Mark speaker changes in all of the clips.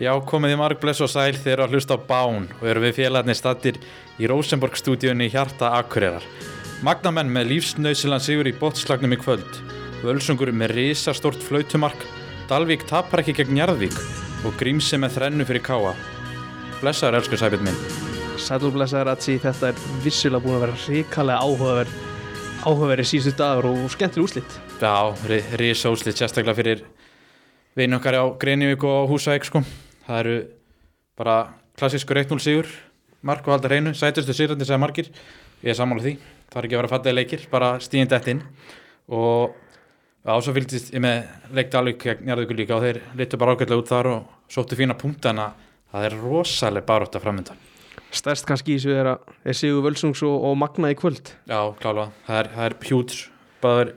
Speaker 1: Já, komið í margbless og sæl þeir eru að hlusta á Bán og eru við félagarnir stattir í Rosenborg stúdíunni í Hjarta Akureyrar. Magnamenn með lífsnausilan sigur í botslagnum í kvöld, Völsungur með risastort flautumark, Dalvík tapar ekki gegn Njarðvík og Grímsi með þrennu fyrir Káa. Blessaður, elsku sæbjörn minn.
Speaker 2: Sætlublesaður Atsi, þetta er vissilega búin að vera hrikalega áhugaverð áhugaverði síðustu dagur og skemmtileg úslit
Speaker 1: Já, risóslið sérstaklega fyrir vinn okkar á Greinivík og á Húsavík sko. Það eru bara klassískur 1-0 sigur, mark og haldar hreinu, sætustu sigurandi segja markir. Ég er sammála því, það er ekki að vera fallega leikir, bara stíðin dætt inn. Og já, svo fylgdist ég með leik Dalvík gegn Njarðvíkur líka og þeir litu bara ágætlega út þar og sóttu fína punkt en að það er rosalega barótt að framönda.
Speaker 2: Stærst kannski í þessu er, að- er Sigur Völsungs og, og Magna í kvöld
Speaker 1: Já, klálega, það er, það er hjúts, báðar,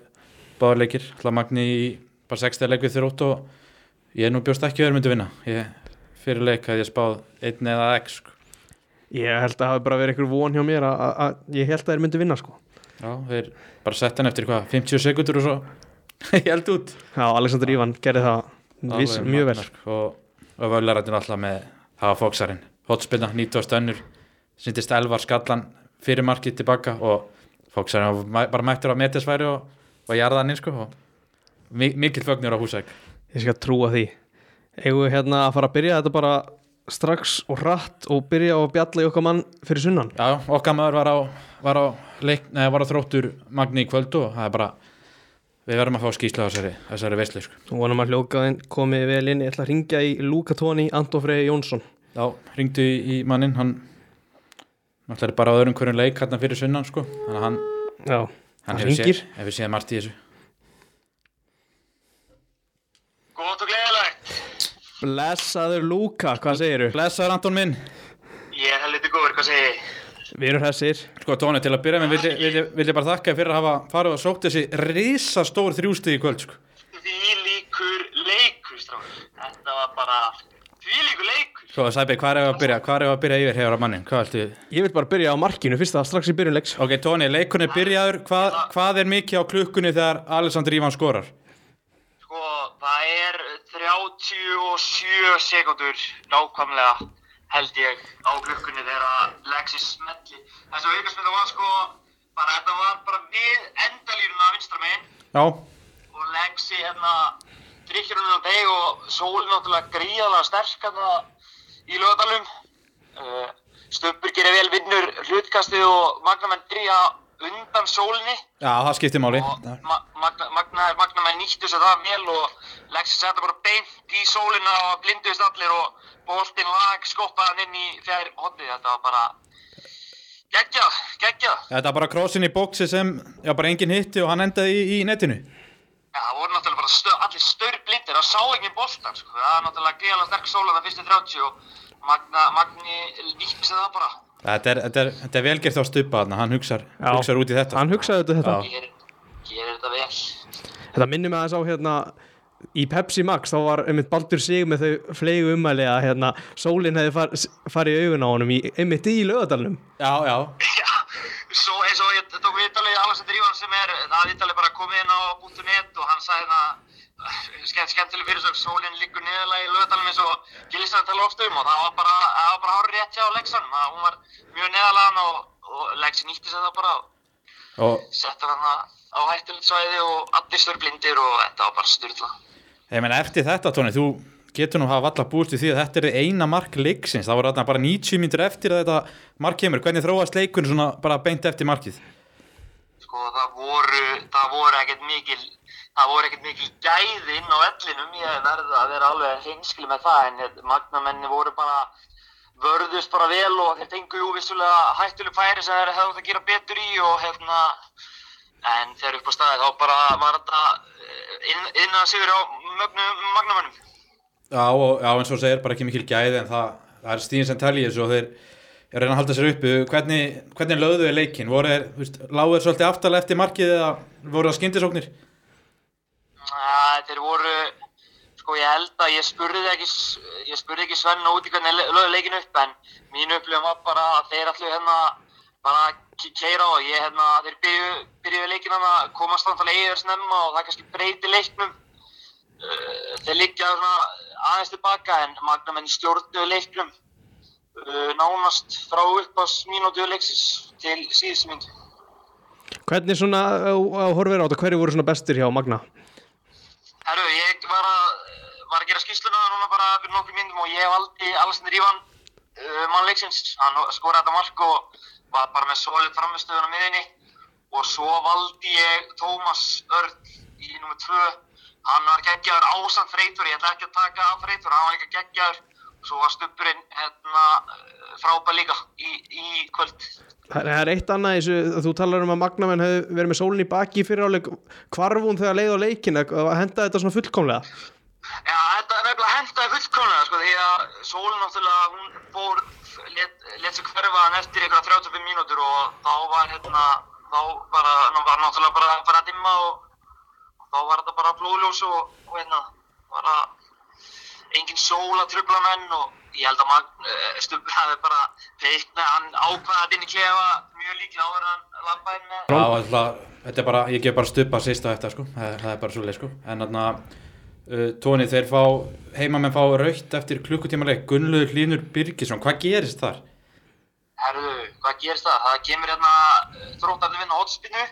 Speaker 1: báðar leikir, hlað Magni í bara 60 leik við þrótt og ég er nú bjóst ekki að þeir myndu vinna, ég fyrir leik að ég spáð einn eða x, sko.
Speaker 2: Ég held að það hafi bara verið einhver von hjá mér að- að að ég held að þeir myndu vinna sko
Speaker 1: já, þeir bara sett hann eftir hvað, 50 sekundur og svo, ég held út.
Speaker 2: Já, Alexander Ívan gerði það viss,
Speaker 1: Alveg
Speaker 2: mjög vel
Speaker 1: magnað, sko, Og, og völarættin alltaf með hafa fóksarinn, hotspilna, 90 önnur, sýndist Elvar Skallan fyrir markið tilbaka og fóksarinn bara mættur á metisværi og, og jarðaninn, sko, og mi- mikill fögnur á húsæk.
Speaker 2: Ég skal trúa því Eigum við hérna að fara að byrja þetta bara strax og hratt og byrja á að bjalla í okkar mann fyrir sunnan
Speaker 1: Já, okkar maður var á, var á, leik, nei, var á þróttur Magni í kvöld og það er bara við verðum að fá skýsla á þessari, þessari veislu sko.
Speaker 2: Nú vonum að hljókaðin komið vel inn Ég ætla að ringja í Luka Tóni Andofrey Jónsson
Speaker 1: Já, ringdu í, í mannin hann náttúrulega er bara á öðrum hverjum leik hann fyrir sunnan sko. þannig að hann,
Speaker 2: Já,
Speaker 1: hann
Speaker 2: Hann
Speaker 1: hefur séð,
Speaker 2: hringir.
Speaker 1: hefur séð margt í þessu
Speaker 3: Gótt og gleðilegt.
Speaker 2: Blessaður Lúka, hvað segirðu?
Speaker 1: Blessaður Anton minn
Speaker 3: Ég er helviti góður, hvað segi ég?
Speaker 2: Við erum hressir
Speaker 1: Sko Tóni, til að byrja með vil, ég- vil, ég- vil ég bara þakka þér fyrir að hafa farið og sótt þessi risastór þrjústi í kvöld sko.
Speaker 3: Því líkur leikur, stráður. Þetta var bara því líkur leikur.
Speaker 1: Sko, Sæbi, hvað er að byrja? Hvað er að byrja yfir hefur á mannin? Hvað ættu?
Speaker 2: Ég vil bara byrja á markinu, fyrst það strax í byrjun leiks
Speaker 1: Ok, Tóni, leikunni byrjaður hvað, hvað er mikið á klukkunni þegar Alessandr Ívan skorar?
Speaker 3: Sko, það er 37 sekundur nákvæmlega, held ég, á glukkunni þegar að Lexis smelli. Þessu aukastmynda var sko, bara þetta var bara við endalýruna vinstra meginn.
Speaker 1: Já,
Speaker 3: og Lexi hérna drikkir hún á deg og sólin náttúrulega gríðalega sterk hérna í lögadalum uh, Stubbur gerir vel vinnur hlutkastið og Magnamenn dríja undan sólinni
Speaker 1: Já, það skiptir máli.
Speaker 3: og ma magna magna Magnamenn nýttu sér það vel og Lexi setja bara beint í sólina og blinduðist allir og boltinn lag skoppaðan inn í fjær hotnið þetta var bara geggjað, geggjað
Speaker 1: Þetta er bara krossin í bóksi sem, já, bara enginn hitti og hann endaði í, í netinu.
Speaker 3: Já, það voru náttúrulega bara stö, allir stöður blindir, það sá ekki boltan, sko. Það er náttúrulega greiðalega sterk sóla það fyrstu 30 og Magna, Magni nýtti sig það bara.
Speaker 1: Þetta er, þetta er, þetta er velgerð þá stupa þarna, hann hugsar,
Speaker 2: Já.
Speaker 1: hugsar út í þetta.
Speaker 2: Hann hugsaði þetta, þetta.
Speaker 1: Já.
Speaker 3: Gerir, gerir þetta vel.
Speaker 2: þetta minnir mig aðeins á hérna Í Pepsi Max þá var einmitt Baldur Sig með þau flegu umæli að hérna, sólin hefði far, farið í augun á honum í, einmitt í lögadalunum
Speaker 1: Já, já,
Speaker 3: Já, svo eins og ég tók við ítalið Alexander Ívan sem er, það er ítalið bara komið inn á .net og hann sagði það, skemmt, skemmtileg fyrirsök, sólinn liggur niðurlega í lögadalum eins og Gillisand tala oft um og það var bara, það var bara hárið rétt hjá Lexan, það, hún var mjög neðalega og, og Lexi nýtti sig það bara og
Speaker 1: og
Speaker 3: settur hann á hættulegt svæði og allir stöður blindir og þetta var bara styrla.
Speaker 1: ég meina eftir þetta, Tóni, þú getur nú hafa allar búist í því að þetta er eina mark leiksins. Það voru þarna bara 90 mínútur eftir að þetta mark kemur. Hvernig þróast leikun svona bara beint eftir markið?
Speaker 3: Sko það voru, það voru ekkert mikil, það voru ekkert mikil gæði inn á ellinum, ég verði að vera alveg hinskli með það en ég- magnamenni voru bara, vörðust bara vel og þeir tengu jú vissulega hættuleg færi sem þeir hefðu átt að gera betur í og hérna, en þegar upp á staði þá bara var þetta eh, inn, inn að sigur á mögnum magnamennum.
Speaker 1: Já, og, já, eins og þú segir, bara ekki mikil gæði en það, það er stíðin sem telji þessu og þeir er að reyna að halda sér uppi. Hvernig, hvernig lögðu þau leikin? Voru þeir, þú veist, lágu þeir svolítið aftalega eftir markið eða voru það skyndisóknir?
Speaker 3: Ja, þeir voru, sko ég held að ég spurði ekki, ég spurði ekki Svenna út í hvernig le- lögðu leikin upp en mín upplifum var bara að þeir allir hérna bara keira og ég hérna, þeir byrju, byrjuðu leikin hérna, komast þannig að leiður snemma og það kannski breyti leiknum. Eh, Þeir liggja svona aðeins tilbaka en magnamenn stjórnuðu leiknum uh, nánast frá uppás mínútu leiksins til síðustu mynd.
Speaker 2: Hvernig svona, að horfið á þetta, hverju voru svona bestir hjá Magna?
Speaker 3: Herru, ég var að, var að gera skýsluna núna bara fyrir nokkur myndum og ég valdi Alessandr Ívan uh, mann leiksins. Hann skoraði þetta mark og var bara með solid framistöðun á miðinni og svo valdi ég Tómas Örn í nummer 2 hann var geggjaður ásand freytur ég ætla ekki að taka af freytur, hann var líka geggjaður og svo var stubburinn hérna, frábæð líka í, í kvöld
Speaker 2: Það það er eitt annað í þessu, þú talar um að Magnamenn hefði verið með sólinn í baki fyrir áleik, hvarf hún þegar leið á leikin að henda þetta svona fullkomlega?
Speaker 3: Já, þetta er nefnilega hendaði fullkomlega, sko, því að sólinn náttúrulega, hún fór, let, let sig hverfa hann eftir ykkur 35 mínútur og þá var hérna, þá bara, ná, var náttúrulega bara, bara að dimma og, og þá var þetta bara blóðljós og, og hérna, bara engin sól að trubla menn og ég held að maður stupur hafi bara peikna, hann ákvaðið inn í klefa mjög líklega áður en hann labbaði með.
Speaker 1: Já, alltaf, þetta er bara, ég gef bara stupa sýsta eftir, sko, það, það er bara svolítið, sko. En þarna, uh, tóni, þeir fá, heimamenn fá raukt eftir klukkutímaleg, Gunnlaugur Hlínur Birgisson, hvað gerist þar?
Speaker 3: Herðu, hvað gerst það? Það kemur hérna þróttarði vinna hotspinnu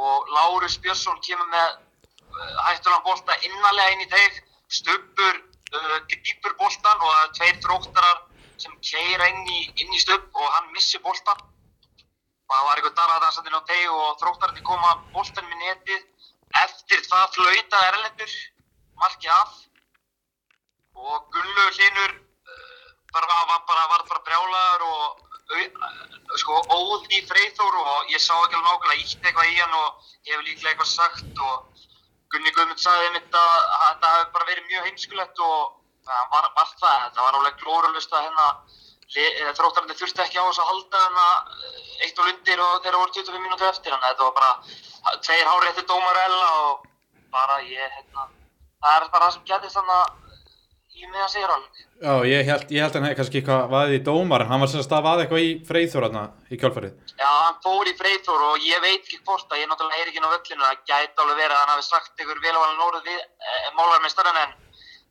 Speaker 3: og Lárus Björnsson kemur með uh, hættulan bolta innanlega inn í teig, stubbur, uh, grýpur boltan og það er tveir þróttarar sem keira inn í, inn í stubb og hann missir boltan. Og það var eitthvað darraðansandi inn á teig og þróttararnir koma boltan með netið. Eftir það flauta Erlendur, markið af og Gunnlaugur Hlynur eh, bara, var, var, bara, var bara brjálaður og au- eh, sko, óð í Freyþór og ég sá ekki alveg nákvæmlega ítt eitthvað í hann og ég hef líklega eitthvað sagt og Gunni Guðmund sagði einmitt að að þetta hefði bara verið mjög heimskulegt og það var, var það, þetta var alveg glóralust að hérna þróttarandi þurfti ekki á þess að halda hérna eh, eitt og lundir og þeirra voru 25 mínútur eftir þannig að þetta var bara ha- tveir hárétti dómar ella og bara ég hérna, það er bara það sem gerðist þannig í meðan segir hann
Speaker 1: Já, ég held, ég held hann hefði kannski eitthvað vaðið í dómar, en hann var sérst að vaða eitthvað í freyþórarna í kjálfarið.
Speaker 3: Já, hann fór í Freyþór og ég veit ekki hvort að ég náttúrulega er ekki inn á völlinu það gæti alveg verið að hann hafi sagt ykkur velvalin orðið við e, málarmestarinn en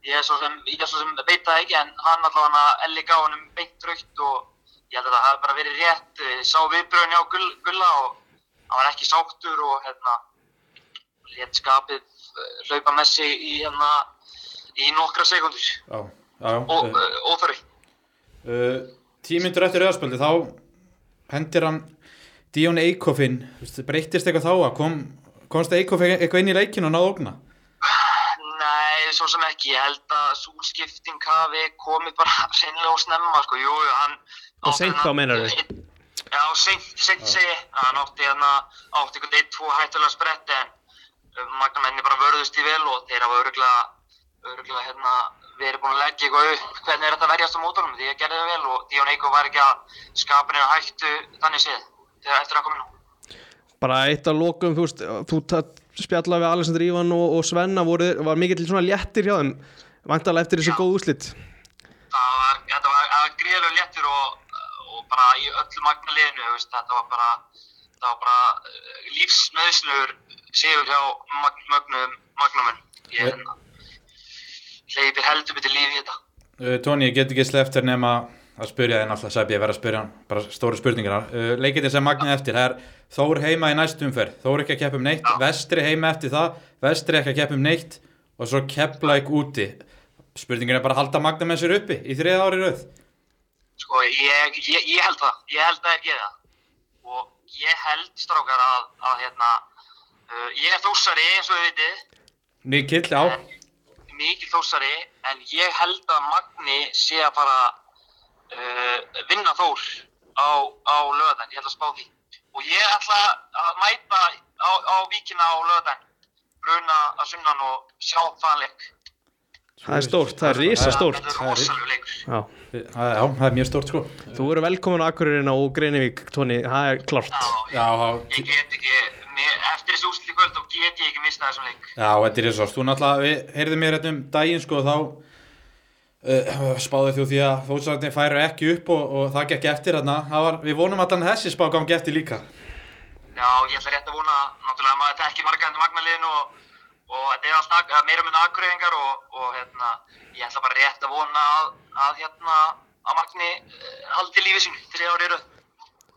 Speaker 3: ég er svo sem, ég er svo sem veit það ekki en hann allavega hann að elli gá hann um beint raukt og ég held að það hafi bara verið rétt ég sá viðbröðin hjá Gull, Gulla og hann var ekki sáttur og hérna létt skapið eh, hlaupa með sig í hérna í nokkra sekundur
Speaker 1: Já, já, já.
Speaker 3: og
Speaker 1: eh,
Speaker 3: eh, óþarfi
Speaker 1: Uh, tímyndur eftir auðarspöldi þá hendir hann Díón Eikofinn, breyttist eitthvað þá að kom, komst Eikofinn eitthvað inn í leikin og náðu ógna
Speaker 3: Nei, svo sem ekki. Ég held að súlskipting hafi komið bara sennlega og snemma, sko. Jú, jú, hann...
Speaker 2: Og seint þá, meinarðu?
Speaker 3: Já, seint, seint segi. ég. Hann átti hérna, átti einhvern veginn tvo hættulega spretti, en magnamenni bara vörðust í vel og þeir hafa öruglega, öruglega, hérna, verið búin að leggja eitthvað upp hvernig er þetta að verjast á mótorum, því ég gerði það vel og Díón Eiko var ekki að skapinu hættu þannig séð, þegar eftir að koma nú.
Speaker 2: Bara eitt að lokum, þú veist, þú tatt- spjallaði við Alessandr Ívan og, og Svenna, voru, var mikill svona léttir hjá þeim, vantarlega eftir þessi
Speaker 3: Já.
Speaker 2: góð úslit.
Speaker 3: það var, þetta var, það var gríðarlega léttur og, og bara í öllu magnaliðinu, þú veist, þetta var bara, þetta var bara lífsnöðsluður sigur hjá mag, mögnum, magnumun. Ég
Speaker 1: Nei.
Speaker 3: hleypir heldur betur lífi í þetta.
Speaker 1: uh, Tóni, ég get ekki sleftir nema að spyrja þig náttúrulega, sæp ég verð að spyrja hann bara stóru spurningar uh, leikitin sem magnið
Speaker 2: Ah.
Speaker 1: eftir, það er Þór heima í næstu umferð Þór ekki að keppa um
Speaker 2: Ah.
Speaker 1: neitt,
Speaker 3: Já.
Speaker 1: vestri heima eftir það vestri ekki að keppa um neitt og svo kepplæk úti spurningin er bara að halda magna með sér uppi í þriða ári rauð
Speaker 3: Sko, ég, ég, ég held það, ég held að ég geði það. Og ég held, strákar, að, að hérna, uh, ég er þúsari eins og þið vitið,
Speaker 1: Nikill, já,
Speaker 3: mikið þósari en ég held að Magni sé að fara uh, vinna Þór á, á löðan, ég ætla að spá því og ég ætla að mæta á, á víkina á löðan bruna að sunnan og sjá það leik
Speaker 2: Það er stórt, það er risa
Speaker 3: þetta
Speaker 2: stórt.
Speaker 3: er rosalegu leikur
Speaker 2: Já.
Speaker 1: Það- já, það er mjög stórt sko
Speaker 2: Þú eru velkomin á Akureyrinna og Greinivík, Tóni, það er klart.
Speaker 3: Já,
Speaker 1: Já, já,
Speaker 3: ég get ekki, mér, eftir þessu úsli kvöld þá get ég ekki mista þessum leik
Speaker 1: Já, þetta er eins og þú náttúrulega, við heyrðum mér þetta um daginn sko þá uh, spáðu þú því að fótsvartin færu ekki upp og, og það gekk eftir þarna, það var, við vonum að þannig þessi spá gangi eftir líka.
Speaker 3: Já, ég ætla rétt að vona, náttúrulega maður þetta ekki marga endur magnaliðin og,
Speaker 4: og þetta er allt ak- meira mun akureyringar og, og hérna, ég ætla bara rétt að vona að, að hérna, að Magni eh, haldi lífið sínu þrjá árið röð.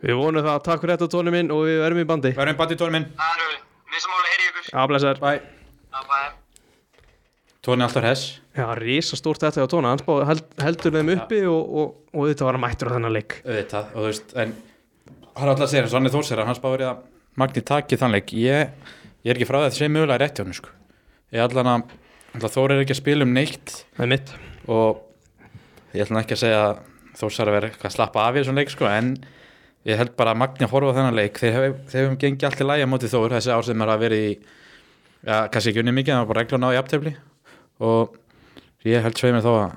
Speaker 2: Við vonum það, takk fyrir þetta tónum minn og við verðum í bandi.
Speaker 1: Verðum bandi tónin minn.
Speaker 4: Það eru við, við sem álega heyri ykkur.
Speaker 2: Já, blessar.
Speaker 1: Bye.
Speaker 4: Já, bæði.
Speaker 1: Tónin er alltaf hess.
Speaker 2: Já, risastórt þetta á tóna, hann spáði held, heldur þeim uppi og, og, og þetta var hann mættur á þennan leik.
Speaker 1: Auðvitað, og þú veist, en hann er alltaf að segja, eins og Sanni Þórsera, hann spáir í að Magni taki þann leik. Ég, ég er ekki frá því að það sé mögulega rétt hjá hann, sko. Ég ætla hann að, ætla Þór er ekki að spila um neitt
Speaker 2: Það er mitt.
Speaker 1: og ég ætla hann ekki að segja að Þórsara verið eitthvað að slappa af í þessum leik, sko, en ég held bara að Magni að horfa á þennan leik. Þeir hef- þeir hefum gengið allt í lægja mótið Þór þessi ár sem er að verið í, já, kannski ekki unni mikið, en það var bara reglun á í aftefli og ég held sveimir þó að,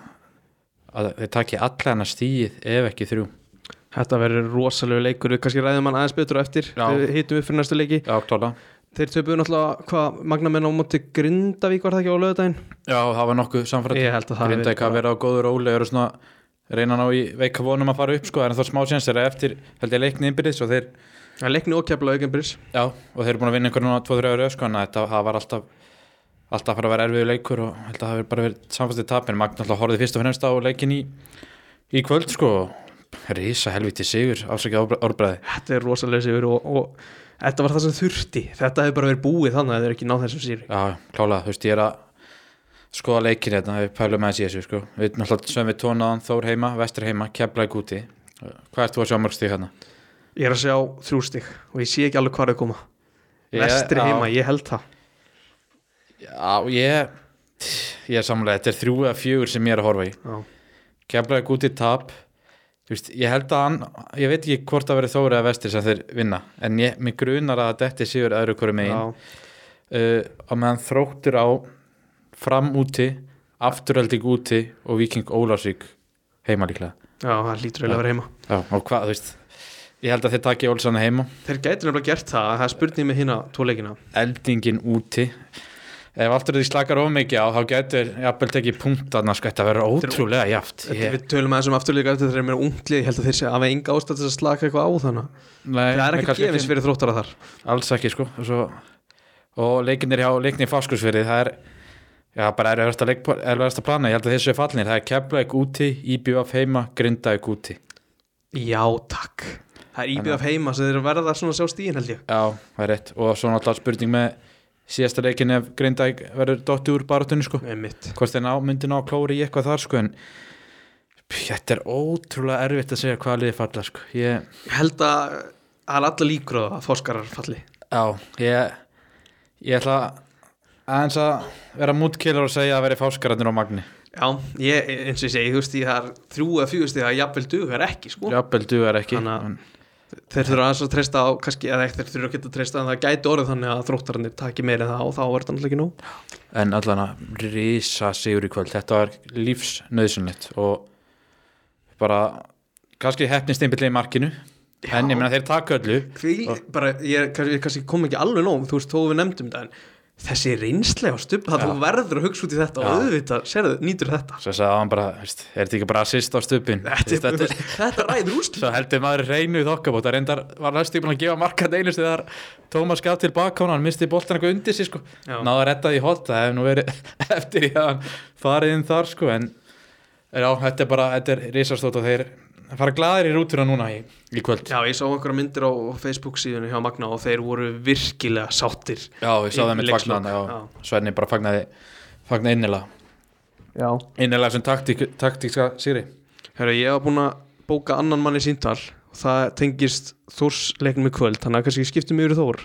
Speaker 1: að þeir taki allan að stíð ef ekki þrjú.
Speaker 2: Þetta verður rosalegu leikur, við kannski ræðum hann aðeins betur á eftir.
Speaker 1: Já.
Speaker 2: Við hittum upp fyrir næstu leiki.
Speaker 1: Já, klála.
Speaker 2: Þeir töpuðu náttúrulega hvað magnamenn á móti Grindavík var það ekki á löðudaginn?
Speaker 1: Já, það var nokkuð samfært
Speaker 2: Ég held að það hafi
Speaker 1: Grindavík að
Speaker 2: bara-
Speaker 1: vera á góður róli eru svona reyna að ná í veika vonum að fara upp sko, en það er smá séns þeirra eftir held ég leikni innbyrðis og þeir,
Speaker 2: Það er leikni okkjafla aukenbyrðis.
Speaker 1: já, og þeir eru búin að vinna einhvern veginn á 2-3 öru, sko, en þetta það var alltaf alltaf að fara að vera erfiðu leikur og held að það hafi bara verið samfæstið tapin, Magna alltaf horfið fyrst og fremst á leikin í, í kvöld, sko risa helviti sigur, afsakið árbræði
Speaker 2: Þetta er rosalega sigur og, og þetta var það sem þurfti. Þetta hefur bara verið búið þannig að þeir ekki náð þessum sýri.
Speaker 1: Já, klálega, þú veist, ég er að skoða leikin þetta, við pælum aðeins í þessu, sko. Við náttúrulega sem við tónaðan Þór heima, Vestur heima, Keflæk úti. Hvað ert þú að sjá mörg stík hérna?
Speaker 2: Ég er að sjá þrjú stig og ég sé ekki alveg hvað þau koma.
Speaker 1: Ég-
Speaker 2: Vestri
Speaker 1: já.
Speaker 2: heima, ég held það.
Speaker 1: Já, ég, ég er samlega, þetta er þrjú eða fjögur sem ég er að horfa í.
Speaker 2: Já.
Speaker 1: Keflæk úti tap, þú veist, ég held að hann, ég veit ekki hvort það verið Þór eða Vestur sem þeir vinna, en ég, mig grunar að þetta séur öðru hverju megin.
Speaker 2: Já.
Speaker 1: uh, á meðan þróttur á fram úti, afturölding úti og viking Ólásvík heima líklega
Speaker 2: Já, það lítur eiginlega að vera heima.
Speaker 1: Já, og hvað, þú veist ég held að þeir taki Ólsana heima
Speaker 2: Þeir gæti nefnilega gert það, það er spurning með hina tóleikina.
Speaker 1: eldingin úti ef aftur því slakar of mikið á þá getur jafnvel tekið punkt þarna sko, þetta verður ótrúlega jaft
Speaker 2: Þetta
Speaker 1: ég,
Speaker 2: Við tölum aðeins um afturleika eftir þeir eru meira unglið, ég held að þeir sé að við enga ástætt þess að slaka eitthvað á þannig.
Speaker 1: nei,
Speaker 2: Það er
Speaker 1: nei,
Speaker 2: ekkert
Speaker 1: kannski
Speaker 2: gefins fyrir þróttara þar.
Speaker 1: alls ekki sko og, svo, og leikin er hjá leikin í fáskursfyrði það er Já, bara er verðast að, leik, er verðast að plana, ég held að þessu er fallinir, það er Keflavík úti, IBF heima, Grindavík úti.
Speaker 2: Já, takk. Það er íbjöf heima sem þeir verða svona að sjá stíðin held ég.
Speaker 1: Já, það er rétt og svo náttúrulega spurning með síðasta leikin ef Grindavík verður dotti úr barátunni sko
Speaker 2: Einmitt.
Speaker 1: hvort þeir ná, myndi ná að klóra í eitthvað þar sko en þetta er ótrúlega erfitt að segja hvaða liði falla sko ég,
Speaker 2: Ég held að það er alla líkur á að fóskarar falli.
Speaker 1: já, ég ég ætla aðeins að vera mútkilur og segja að veri fáskararnir á magni
Speaker 2: Já, ég, eins og ég segi, þú veist, ég það er þrjú að fjögur stíð að jafnvel dugar ekki, sko.
Speaker 1: Jafnvel dugar ekki
Speaker 2: Þannig að-
Speaker 1: en,
Speaker 2: Þeir þurfa aðeins að treysta á, kannski, eða ekkert þeir þurfa að geta treysta, en það gæti orðið þannig að þróttararnir taki meira en það og þá verður það náttúrulega ekki nóg.
Speaker 1: en allan að risa sigur í kvöld þetta var lífsnauðsynlegt og bara kannski hefnistimpilli í markinu en ég meina þeir taka öllu
Speaker 2: Því, bara, ég, er kannski, ég kannski kom ekki alveg nóg, þú veist, þó við nefndum þetta, en þessi reynslega stup, það þú verður að hugsa út í þetta og
Speaker 1: Já.
Speaker 2: auðvitað, sérðu, nýtur þetta.
Speaker 1: Svo sagði hann bara, veist, er þetta ekki bara assist á stupin?
Speaker 2: Þetta, er- þetta ræður úrslit.
Speaker 1: Svo heldur maður reynu í þokkabót, það reyndar var næstu búin að gefa markað einu þegar Tómas gaf til bakhán, hann misti boltan eitthvað undir sig sko,
Speaker 2: Já.
Speaker 1: náða að retta því hótt, það hefði nú verið eftir í að hann farið inn þar sko, en en já, þetta er bara, þetta er risastótt og þeir fara glaðir í rútuna núna í, í kvöld.
Speaker 2: Já, ég sá einhverja myndir á Facebook síðunni hjá Magna og þeir voru virkilega sáttir.
Speaker 1: Já, ég sá
Speaker 2: Í-
Speaker 1: það
Speaker 2: í
Speaker 1: með
Speaker 2: leikslok,
Speaker 1: fagnan, já, Svenni bara fagnaði, fagnaði innilega,
Speaker 2: Já.
Speaker 1: innilega sem taktík, taktíkska sýri.
Speaker 2: Herra, ég var búin að bóka annan manni síntal og það tengist Þórsleiknum í kvöld þannig að kannski skiptum yfir í Þór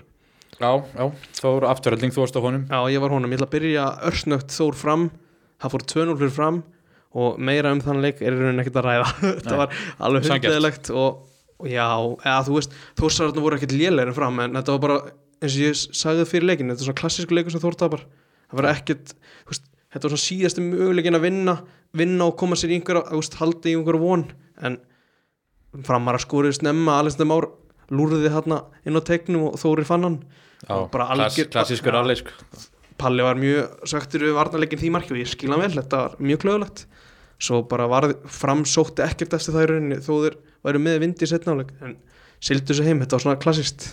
Speaker 1: Já, já, þó eru afturölding, þú varst á honum.
Speaker 2: Já, ég var honum, ég ætla að byrja örsnögt Þór fram það fór 2-0 fyrir fram og meira um þann leik er í rauninni ekkert að ræða þetta var alveg
Speaker 1: Sanngjarnt.
Speaker 2: hundleðilegt og og já, eða þú veist Þórsararnir voru ekkert lélegir en fram en þetta var bara eins og ég sagði fyrir leikin þetta er svona klassísku leikur sem Þór tapar það var ekkert, þú veist, þetta var svona síðasti möguleikin að vinna, vinna og koma sér í einhverja, þú veist, haldi í einhverja von en framar að skorið snemma Alex Demár lúrði þarna inn á teiknum og Þóri fann hann
Speaker 1: Já,
Speaker 2: Og bara
Speaker 1: klass,
Speaker 2: algjör-
Speaker 1: klassískur
Speaker 2: Já.
Speaker 1: alveg sko.
Speaker 2: Palli var mjög söktur við varnarleikin því marki og ég skil hann vel, þetta var mjög klöðulegt svo bara varð, framsótti ekkert eftir það í rauninni þó þeir væru með vind í setnáleik en sildu þessu heim, þetta var svona klassist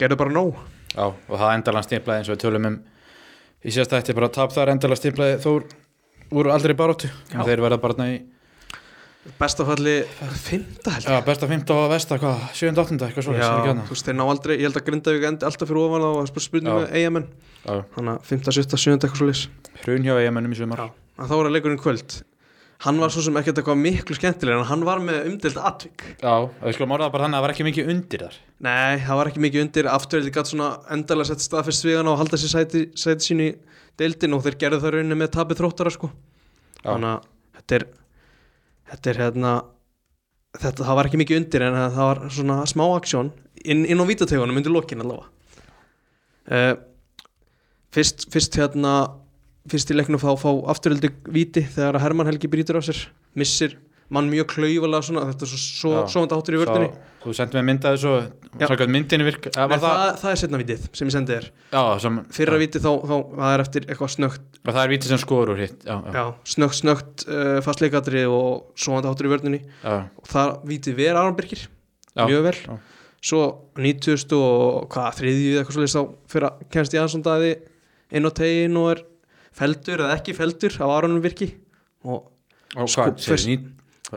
Speaker 2: gerðu bara nóg
Speaker 1: Já, og það endalega stimplaði eins og við tölum um í sérst ætti bara tap þar endalega stimplaði Þór úr aldrei baróttu
Speaker 2: Já.
Speaker 1: þeir verða bara þarna í
Speaker 2: bestafalli fymta held
Speaker 1: já, besta 15 og versta, hvað, 7. 8. eitthvað svo
Speaker 2: Já, þú veist, þeir ná aldrei, ég held að Grindavík endi alltaf fyrir ofan á að spyrja spurningu
Speaker 1: Já.
Speaker 2: með eigamenn
Speaker 1: Já,
Speaker 2: þannig að 15, 17, 17 eitthvað svo
Speaker 1: hrun hjá eigamennum í sumar
Speaker 2: að þá var að leikurinn í kvöld hann var svo sem ekkert eitthvað miklu skemmtilega en hann var með umdelt atvik
Speaker 1: Já, við skulum orða það bara þannig að það var ekki mikið undir þar
Speaker 2: nei, það var ekki mikið undir afturveldi gætt svona endalega sett staðfest svigan á að halda sér sæti, sæti sínu í deildin og þeir gerðu það rauninni með tabi þróttara sko
Speaker 1: Já.
Speaker 2: þannig að þetta er þetta er hérna þetta, það var ekki mikið undir en það var svona smá aksjón inn, inn á vítategunum undir lokin allavega uh, fyrst, fyrst hérna fyrst í leiknum þá fá afturöldu víti þegar að Hermann Helgi brýtur á sér missir mann mjög klauvalega svona þetta er svo, svo,
Speaker 1: Já.
Speaker 2: svo áttur í vördunni
Speaker 1: Sá- Þú sendið mér myndaði svo,
Speaker 2: Já.
Speaker 1: svo hvað myndinni virk eh,
Speaker 2: það,
Speaker 1: var það,
Speaker 2: það, það er setna vitið sem ég sendi þér
Speaker 1: já, sem,
Speaker 2: fyrra víti þá, þá það er eftir eitthvað snögt
Speaker 1: og það er vítið sem skorur úr hitt Já, já,
Speaker 2: já, snögt, snögt uh, fastleikatri og svo áttur í vördunni
Speaker 1: já,
Speaker 2: og það vítið ver Aron Birkir
Speaker 1: já.
Speaker 2: mjög vel
Speaker 1: já.
Speaker 2: svo 90 og hvað þriðju eða eitthvað svolítið þá fyrir að kennst í aðsson daði inn á tegin og er feldur eða ekki feldur á Aronum Birki og
Speaker 1: Og
Speaker 2: Sko-
Speaker 1: hvað, segir
Speaker 2: fyrst-
Speaker 1: nýtt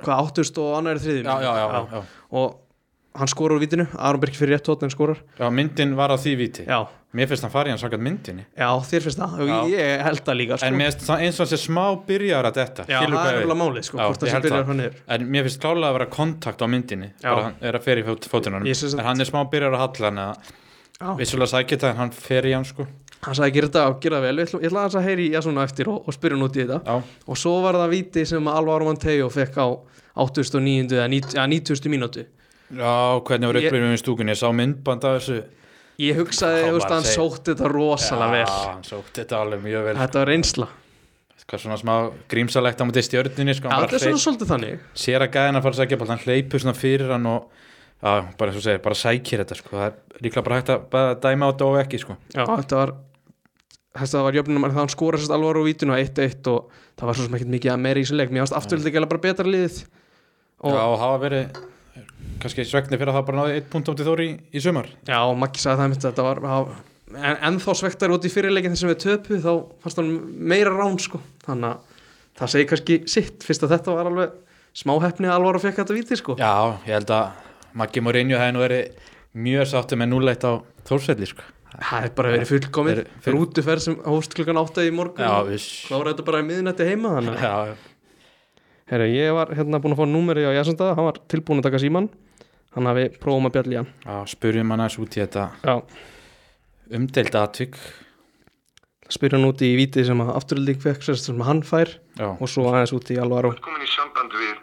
Speaker 2: hvað 80 og annar er þriðju
Speaker 1: Já, já, já, já,
Speaker 2: og hann skorar úr vítinu Aron Birki fyrir rétt hótt en skorar
Speaker 1: já, myndin var að því víti
Speaker 2: já,
Speaker 1: Mér finnst hann farið hann sakat myndinni
Speaker 2: já þér finnst það og
Speaker 1: Já.
Speaker 2: ég- ég held það líka sko.
Speaker 1: En mér finnst það eins og hann sé smá byrjar að þetta
Speaker 2: já, það er alveg málið sko,
Speaker 1: Já,
Speaker 2: hvort
Speaker 1: ég
Speaker 2: það sem
Speaker 1: held
Speaker 2: byrjar
Speaker 1: það.
Speaker 2: hann niður
Speaker 1: En mér finnst klálega að vera kontakt á myndinni
Speaker 2: Já.
Speaker 1: bara hann er að fer í fótunum
Speaker 2: Ég sé samt-
Speaker 1: en hann er smá byrjar að halla hann að
Speaker 2: já.
Speaker 1: vissulega sækja það en hann fer í hann sko
Speaker 2: hann sagði gera þetta og gera það vel ég ætla, ég ætla aðeins að heyri í Jasona eftir og, og spyrja hann út í þetta
Speaker 1: Já,
Speaker 2: og svo var það víti sem að Alvar Manteo fekk á 89. eða 90 eða 90. mínútu
Speaker 1: já hvernig voru
Speaker 2: Ég-
Speaker 1: upplýðum í stúkunni ég sá myndband af þessu
Speaker 2: ég hugsaði
Speaker 1: Hvað
Speaker 2: þú
Speaker 1: var
Speaker 2: veist,
Speaker 1: að
Speaker 2: hann
Speaker 1: segja?
Speaker 2: sótt þetta rosalega
Speaker 1: Já, hann sótt þetta alveg mjög
Speaker 2: vel
Speaker 1: vel
Speaker 2: þetta var reynsla
Speaker 1: Hvað svona smá grímsalegt á mútið stjörninni sko,
Speaker 2: Já,
Speaker 1: hann bara
Speaker 2: þetta er svona
Speaker 1: hleyp-
Speaker 2: svolítið þannig
Speaker 1: sér að gæðina fara að sækja bara hann hleypur svona fyrir hann og já, bara eins og segir, bara sækir þetta sko það er líklega bara hægt að bara dæma á þetta og ekki sko
Speaker 2: já. þetta var þetta var jöfnum að hann skora sérst Alvar og vítinu að 1-1 og það var svo sem ekkert mikið að meira í sem leik mér varst afturlega ekki bara betra liðið
Speaker 1: og,
Speaker 2: og
Speaker 1: já, og hafa verið kannski svegnir fyrir að hafa bara náði eitt punkt átti þóri í, í sumar
Speaker 2: Já, og Maggi sagði það mitt þetta var, það var en, ennþá svektar út í fyrirleikin þessum við töpu þá fannst hann meira rán sko þannig að það segi kannski sitt fyrst að þetta var alveg smá hefni að alvar að fekka þetta víti sko
Speaker 1: Já, ég held að Maggi Mourinho hefði nú verið mjög sáttu með núleitt á Þórsvelli sko.
Speaker 2: það er bara verið fullkomið
Speaker 1: Fyrir- fyrir-
Speaker 2: rútuferð sem hóst klukkan átta í morgun
Speaker 1: Já,
Speaker 2: og
Speaker 1: viss
Speaker 2: klára þetta bara í miðnætti heima þannig að
Speaker 1: Já,
Speaker 2: Herra, ég var hérna búin að fá númerið á Jasunda hann var tilbúin að taka síman þannig að við prófum að bjalla í hann
Speaker 1: já spurjum hann aðeins út í þetta
Speaker 2: Já,
Speaker 1: umdeild atvik
Speaker 2: spyrja hann út í vítið sem að afturlík fekk sem sem hann fær
Speaker 1: Já,
Speaker 2: og svo aðeins út í alvar og
Speaker 3: komin í samband við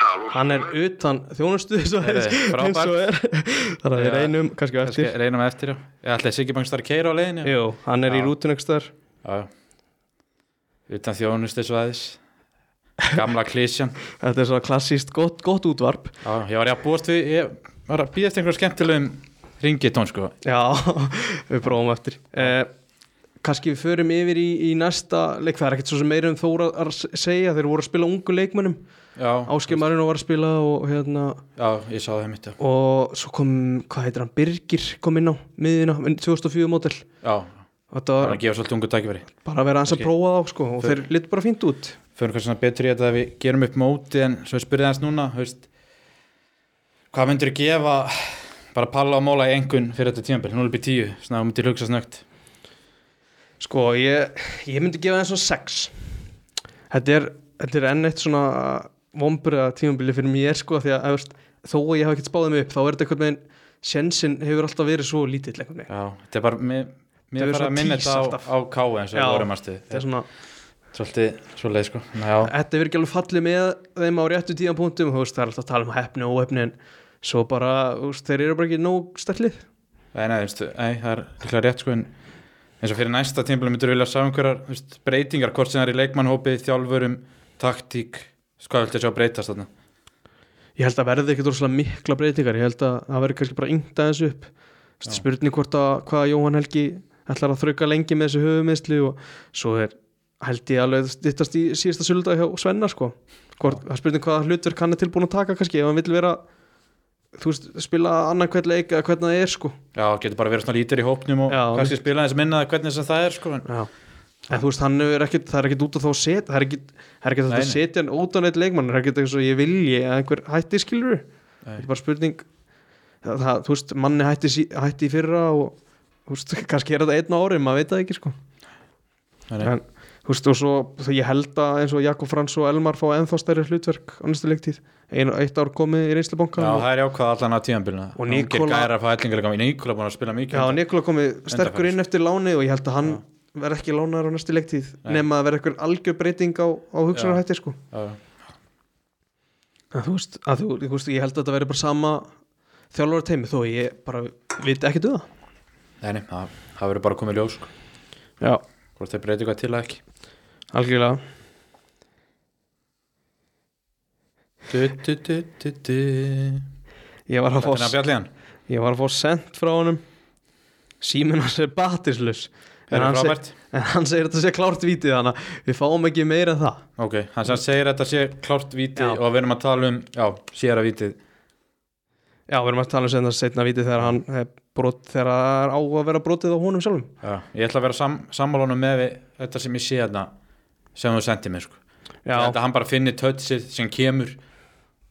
Speaker 3: tal og
Speaker 2: hann er utan þjónustu eins og er,
Speaker 1: Heyrðu, frábært.
Speaker 2: eins og er. þannig að við
Speaker 1: Já.
Speaker 2: reynum kannski á
Speaker 1: kannski
Speaker 2: eftir
Speaker 1: reynum við eftir já. Ég ætlaði Siggi Bangs þar að keira á leiðinu
Speaker 2: Jú, hann er í
Speaker 1: Já.
Speaker 2: rútun ekstar
Speaker 1: Já, já Utan þjónustisvæðis Gamla klísjan
Speaker 2: þetta er svona klassíst gott, gott útvarp
Speaker 1: Já, ég var að búast við Ég var að býðast einhver skemmtilegum ringitón sko
Speaker 2: já, við prófum á eftir eh, kannski við förum yfir í, í næsta leik, það er ekkert svo sem meira um Þóra að s- segja, þeir voru að spila ungu leikmönnum
Speaker 1: Já,
Speaker 2: áskeimarinn var að spila og hérna
Speaker 1: já, ég sá það mitt Já,
Speaker 2: og svo kom, hvað heitir hann, Birgir kom inn á miðina, 2004 mótel
Speaker 1: já
Speaker 2: þetta
Speaker 1: bara
Speaker 2: var
Speaker 1: að gefa svolítið ungu tækifæri
Speaker 2: bara að vera aðeins að
Speaker 1: Kannski.
Speaker 2: prófa þá sko, og þeir litur bara fínt út
Speaker 1: fyrir hvað svona betur í þetta að við gerum upp móti en svo ég spurði hans núna þú veist, hvað myndur gefa bara palla og móla í engun fyrir þetta tímabil 0 upp í 10, svona þú myndir hugsa snögt
Speaker 2: Sko, ég, ég myndi gefa það svona 6 Þetta er, þetta er enn eitt svona vombriða tímabili fyrir mér sko því að þú veist, þó að ég hafa ekkert spáðið mig upp þá er þetta einhvern veginn, sjensin hefur alltaf verið svo lítill einhvern veginn
Speaker 1: já, þetta er bara mér,
Speaker 2: Þetta
Speaker 1: mér
Speaker 2: er
Speaker 1: er bara
Speaker 2: svona
Speaker 1: að minna
Speaker 2: tís
Speaker 1: þetta
Speaker 2: alltaf.
Speaker 1: á, á K eins og
Speaker 2: Já.
Speaker 1: við vorum að stuð
Speaker 2: Þetta er svona,
Speaker 1: svolítið, svolítið sko Ná, já,
Speaker 2: þetta hefur ekki alveg fallið með þeim á réttu tíðanpunktum þú veist, það er alltaf að tala um hefni og óhefni en svo bara, þú veist, þeir eru bara ekki nóg sterlið
Speaker 1: nei, nei, þú veist, nei, það er líklega rétt sko en eins og fyrir næsta tímabil myndur vilja sá einhverjar þú veist, breytingar, hvort sem það er í leikmannhópi þjálfurum, taktík þú veist, hvað viltu sjá breytast þarna
Speaker 2: Ég held að verði ekkert rosalega mikla breytingar ég held að það verði kannski bara yngt aðeins upp Þú veist, spurning hvort að hvað Jóhann Helgi ætlar að þrauka lengi með þessu höfumisli og svo er held ég alveg dittast í síðasta sölda hjá Svenna sko hvort, það er spurning hvaða hlutverk hann er tilbúin að taka kannski ef hann vil vera þú veist, spila annan hvern leik eða hvernig það er sko
Speaker 1: Já, getur bara verið svona lítur í hópnum og
Speaker 2: Já,
Speaker 1: kannski spila þess minna hvernig sem það er sko, en
Speaker 2: Já. En þú veist, hann er ekkit, það er ekkit út af þá að setja, það er ekkit, það er ekkit hægt
Speaker 1: Nei,
Speaker 2: að
Speaker 1: nei.
Speaker 2: setja hann út á neitt leikmann, það er ekkit eins og ég vilji að einhver hætti skilur, það er bara spurning, það, það, þú veist, manni hætti, sí- hætti í fyrra og, þú veist, kannski er þetta einn á ári, maður veit það ekki, sko.
Speaker 1: Nei, nei.
Speaker 2: En, þú veist, og svo, það ég held að eins og Jakob Frans og Elmar fá ennþá stærri hlutverk á næstu leiktíð, ein, eitt ár komið í reynslubanka
Speaker 1: Já,
Speaker 2: og,
Speaker 1: það er jákvæð allan að tíðanbylna
Speaker 2: Og
Speaker 1: Níkola
Speaker 2: Nikola-
Speaker 1: Gæra fæða ellingar Níkola búin að spila mikið
Speaker 2: Já, Nikola komið sterkur
Speaker 1: Undanfarið.
Speaker 2: inn eftir láni og ég held að hann verði ekki lánar á næstu leiktíð
Speaker 1: Nei.
Speaker 2: nema að verði eitthvað algjör breyting á, á hugsunarhætti sko.
Speaker 1: Já, já.
Speaker 2: að þú veist, að þú, þú veist ég held að þetta verði bara sama þjálfara teimi þó ég bara um veit ekki duða
Speaker 1: Nei, nei, það það verður bara komið ljós sko.
Speaker 2: Já,
Speaker 1: Hvort þeir breyti eitthvað til að ekki
Speaker 2: algjörlega
Speaker 1: du, du, du, du, du.
Speaker 2: Ég var að
Speaker 1: Þetta er að
Speaker 2: fá,
Speaker 1: bjallið hann
Speaker 2: ég var að fá sent frá honum síminn hans er batislis
Speaker 1: Það
Speaker 2: en,
Speaker 1: er
Speaker 2: hann seg-
Speaker 1: frábært
Speaker 2: en hann segir þetta sé klárt vítið þannig að við fáum ekki meira en það
Speaker 1: Ok, hann sem segir að þetta sé klárt víti
Speaker 2: Já.
Speaker 1: og við erum að tala um, já, séra vítið
Speaker 2: Já, við erum að tala um sem það setna vítið þegar hann eh, brot, þegar það er á að vera brotið á honum sjálfum
Speaker 1: já, Ég ætla að vera sam, sammálunum með við, þetta sem ég sé þarna sem þú sendið mér sko.
Speaker 2: Já,
Speaker 1: Þetta hann bara finnir tötsið sem kemur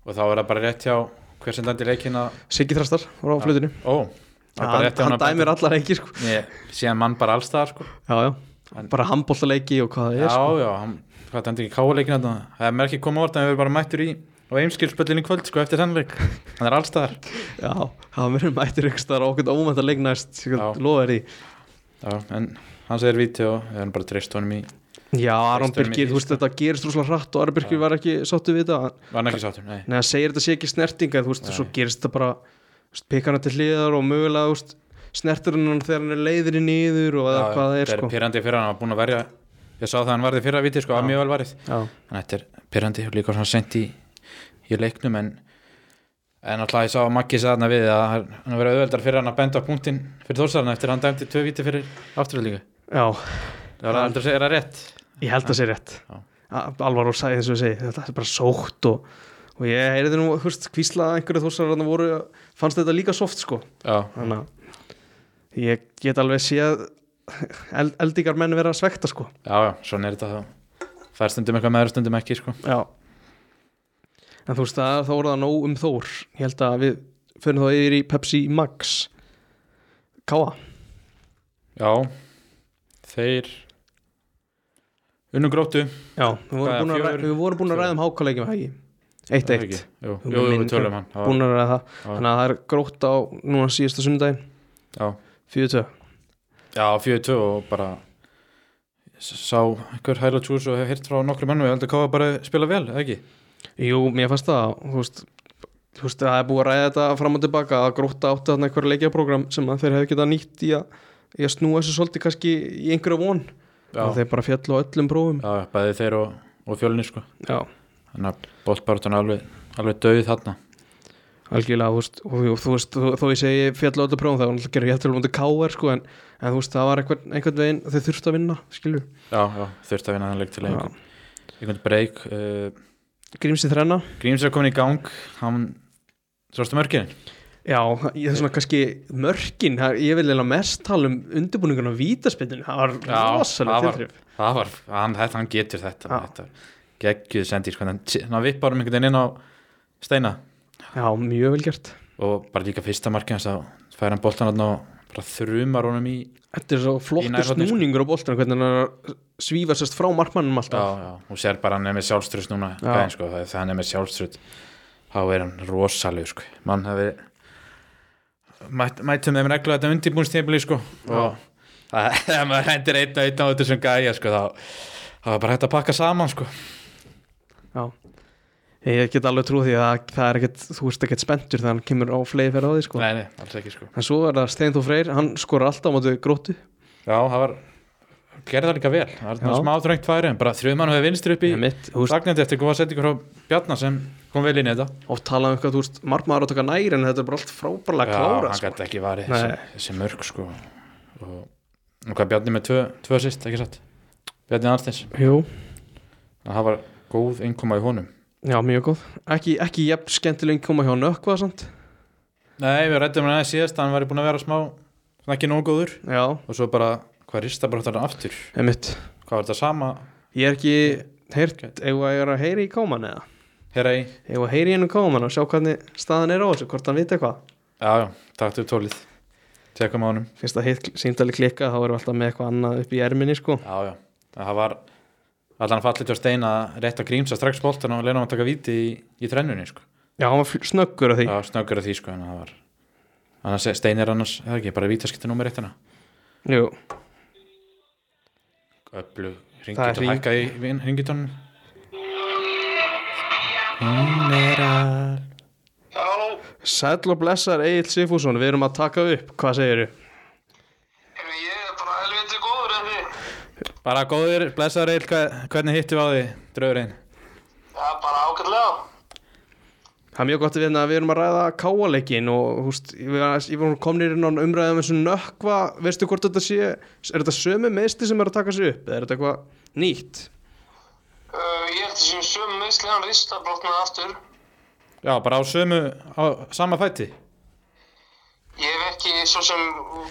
Speaker 1: og þá er það bara rétt hjá hver sem dændi leikin að
Speaker 2: Siggi Þrastar var á flutinu
Speaker 1: Ó, það er bara
Speaker 2: hann,
Speaker 1: rétt hjá
Speaker 2: hann
Speaker 1: að benda-
Speaker 2: dæmir allar ekki sko.
Speaker 1: Ég sé hann mann bara allstaðar sko.
Speaker 2: Já, já, bara handbóltaleiki og hvað það
Speaker 1: Já,
Speaker 2: er sko.
Speaker 1: já, hann, hvað þetta endur ekki káleikin þetta Það er mér ekki komið orð, en við erum bara mættur í og einskilspöllin í kvöld, sko, eftir þennleik Hann er allstaðar
Speaker 2: Já, hann verður mættir ykkur staðar á okkur ómænta leik næst, ég
Speaker 1: Já.
Speaker 2: lofa þér í
Speaker 1: Já, en hann segir víti og við erum bara treyst honum í
Speaker 2: Já, Aron
Speaker 1: Veistur
Speaker 2: Birgir,
Speaker 1: mikið,
Speaker 2: þú veist þetta gerist rúslega hrætt og Aron Birgir var ekki sáttu við þetta
Speaker 1: Var hann ekki sáttur, nei
Speaker 2: Nei, það segir þetta sé ekki snertinga, þú veist, svo gerist þetta bara þú veist, pikka hana til hliðar og mögulega þú veist, snertur hann þegar hann er leiðri niður og eða
Speaker 1: Já,
Speaker 2: hvað það er
Speaker 1: þetta
Speaker 2: sko
Speaker 1: pirrandi fyrir hann, hann var búin að verja Ég sá það að hann varði fyrir að víti, sko, að mjög vel varðið
Speaker 2: Já,
Speaker 1: En þetta er pirrandi og líka svona sent í, í leiknum en En alltaf ég sá að Maggi sagði hann við að hann verið auðveldar fyrir hann að benda á punktin fyrir Þórsarna eftir að hann dæmdi tvö víti fyrir afturöldingu.
Speaker 2: já,
Speaker 1: Það var aldrei að segja það rétt.
Speaker 2: ég held að sé rétt
Speaker 1: Já.
Speaker 2: A- Alvar og sagði eins og ég segi, þetta er bara sótt og, og ég heyrði nú, þú veist, hvísla einhverju þúsar hann voru, fannst þetta líka soft sko
Speaker 1: Já,
Speaker 2: þannig að ég get alveg séð eld, eldingar menn vera að svekta sko
Speaker 1: Já, já, svona er þetta þá Það er stundum eitthvað meður, stundum ekki, sko
Speaker 2: já en þú veist það, þá voru það nóg um Þór ég held að við fyrir þá yfir í Pepsi Max Káa
Speaker 1: Já, þeir Unnu gróttu
Speaker 2: já, við
Speaker 1: Hvað er,
Speaker 2: vorum búin að, ræ-
Speaker 1: fjögur?
Speaker 2: við vorum búin að ræða um hákalegjum hægi eitt
Speaker 1: Er það
Speaker 2: eitt
Speaker 1: ekki? Jú,
Speaker 2: Jú,
Speaker 1: jú, við
Speaker 2: minn-
Speaker 1: tölum hann Já,
Speaker 2: búin að ræða það,
Speaker 1: Já.
Speaker 2: þannig að það er grótt á núna síðasta sundaginn,
Speaker 1: já,
Speaker 2: 42
Speaker 1: já 4-2 og bara Sá einhver hæla tjús og hef heyrt frá nokkru mannu Ég held að káða bara að spila vel, eða ekki?
Speaker 2: Jú, mér fannst það þú veist, þú veist, það er búið að ræða þetta fram og tilbaka að gróta átti þarna einhverja leikjaprogram sem að þeir hefði getað nýtt í að, í að snúa þessu svolítið kannski í einhverja von
Speaker 1: Já,
Speaker 2: að þeir bara fjallu á öllum prófum
Speaker 1: já bæði þeir og, og fjölni, sko
Speaker 2: Já,
Speaker 1: Þannig að boltbaráttan er alveg, alveg döið þarna
Speaker 2: algjörlega, þú veist, og, og, þú veist þó, þó ég segi fjallu á öllum prófum þá er náttúrulega gerir jættur um undir káar sko en, en þú veist, það var einhvern, einhvern veginn þau þurftu að vinna, skilju
Speaker 1: Já, já, þurfti að vinna þannleik til að einhvern, einhvern breyk uh,
Speaker 2: Grímsi þrenna
Speaker 1: Gríms er komin í gang Hann, sástu mörkirin?
Speaker 2: Já, ég er svona kannski mörkin, það- ég vil eiginlega mest tala um undirbúningun á vítaspinninu, það var
Speaker 1: Já, það
Speaker 2: rosalega
Speaker 1: var-
Speaker 2: tilþrif
Speaker 1: það var, hann, þetta, hann getur þetta,
Speaker 2: Já.
Speaker 1: þetta geggjuð sendi sko, hann, hann vippar um einhvern veginn inn á steina
Speaker 2: Já, mjög vel gert
Speaker 1: og bara líka fyrsta markið hans þá fær hann boltan hann og bara þrumar honum í
Speaker 2: Þetta er svo flottur
Speaker 1: nærhornið, sko.
Speaker 2: snúningur á boltan hvernig hann er að svífa sérst frá markmannum
Speaker 1: já,
Speaker 2: alltaf
Speaker 1: já, hún sér bara hann er með sjálfstrust núna
Speaker 2: Já.
Speaker 1: gæðin, sko, þegar hann er með sjálfstrust þá er hann rosalegu sko. mann hefði mætt, mættum þeim regla þetta undirbúnstífli sko, og það- ef maður hendir einn og einn á þetta sem gæja sko, þá, þá er bara hægt að pakka saman sko.
Speaker 2: já. Ég get alveg trú því að það er ekkert þú veist ekkert spenntur þegar hann kemur á flegi fyrir á því sko.
Speaker 1: nei, nei, alls ekki sko.
Speaker 2: En svo er það Steinþór Freyr, hann skora alltaf á móti gróttu
Speaker 1: Já, það var gerði það líka vel, það
Speaker 2: Já.
Speaker 1: var smá þröngt færi en bara þrjumann hefur vinstri upp í
Speaker 2: mitt, þú veist,
Speaker 1: Ragnandi eftir góða sendingur frá Bjarnar sem kom vel inn í þetta
Speaker 2: oft talað um eitthvað, þú veist, markmaður á að taka næri en þetta er bara allt frábærlega klára
Speaker 1: hann
Speaker 2: sko.
Speaker 1: gæti ekki varið
Speaker 2: Nei.
Speaker 1: þessi, þessi mörg sko og, og hvað Bjarni með tvö, tvö sýst, ekki satt Bjarni Arnsteins,
Speaker 2: Jú,
Speaker 1: það var góð innkoma í honum
Speaker 2: já, mjög góð Ekki, ekki jefn skemmtileg koma hjá nökkva samt
Speaker 1: Nei, við rættum hann aðeins síðast, hann væri búin að vera smá svona ekki nóg góður
Speaker 2: Já,
Speaker 1: og svo bara, hvað rista bara þetta aftur
Speaker 2: einmitt
Speaker 1: Hvað var þetta sama?
Speaker 2: Ég er ekki heyrt, ef ég er að heyri í káman eða
Speaker 1: Herra í?
Speaker 2: Ef ég heyri í hennu káman og sjá hvernig staðan er á þessu, hvort hann viti eitthvað
Speaker 1: Já, já, taktu upp tólið Tekum á honum
Speaker 2: Finnst það hitt símtali klikka, þá erum við alltaf með eitthvað annað upp í erminni sko
Speaker 1: Já, já, En það var allan fallið til að steina rétt að grínsa strax boltan og leina að taka víti í, í þrennunni sko.
Speaker 2: Já, hann var fl- snöggur að því
Speaker 1: það var snöggur að því sko, en það var annars steinir annars, það er ekki, bara vítaskipti númer eitt hérna. hana
Speaker 2: Jú,
Speaker 1: öllu
Speaker 2: Það er
Speaker 1: ringit og
Speaker 2: hring-
Speaker 1: hækka í ringitónum Hún er að
Speaker 3: Halló,
Speaker 2: sæll og blessar Egil Sifússon, við erum að taka upp, hvað segirðu?
Speaker 3: eru ég er bara helviti góður en þið?
Speaker 1: Bara góður, blessaður eil, hvernig hittum við á því draugurinn?
Speaker 3: Já, bara ágætlega.
Speaker 2: Það er mjög gott að við, hérna- við erum að ræða káaleikin og húst, við erum komnir inn á umræðum eins og nökkva, veistu hvort þetta sé, er þetta sömu meðsli sem er að taka sig upp eða er þetta eitthvað nýtt?
Speaker 3: Uh, ég held að sem sömu meðsli hann rista brotnaði aftur.
Speaker 1: Já, bara á sömu, á sama fæti
Speaker 3: Ég hef ekki svo sem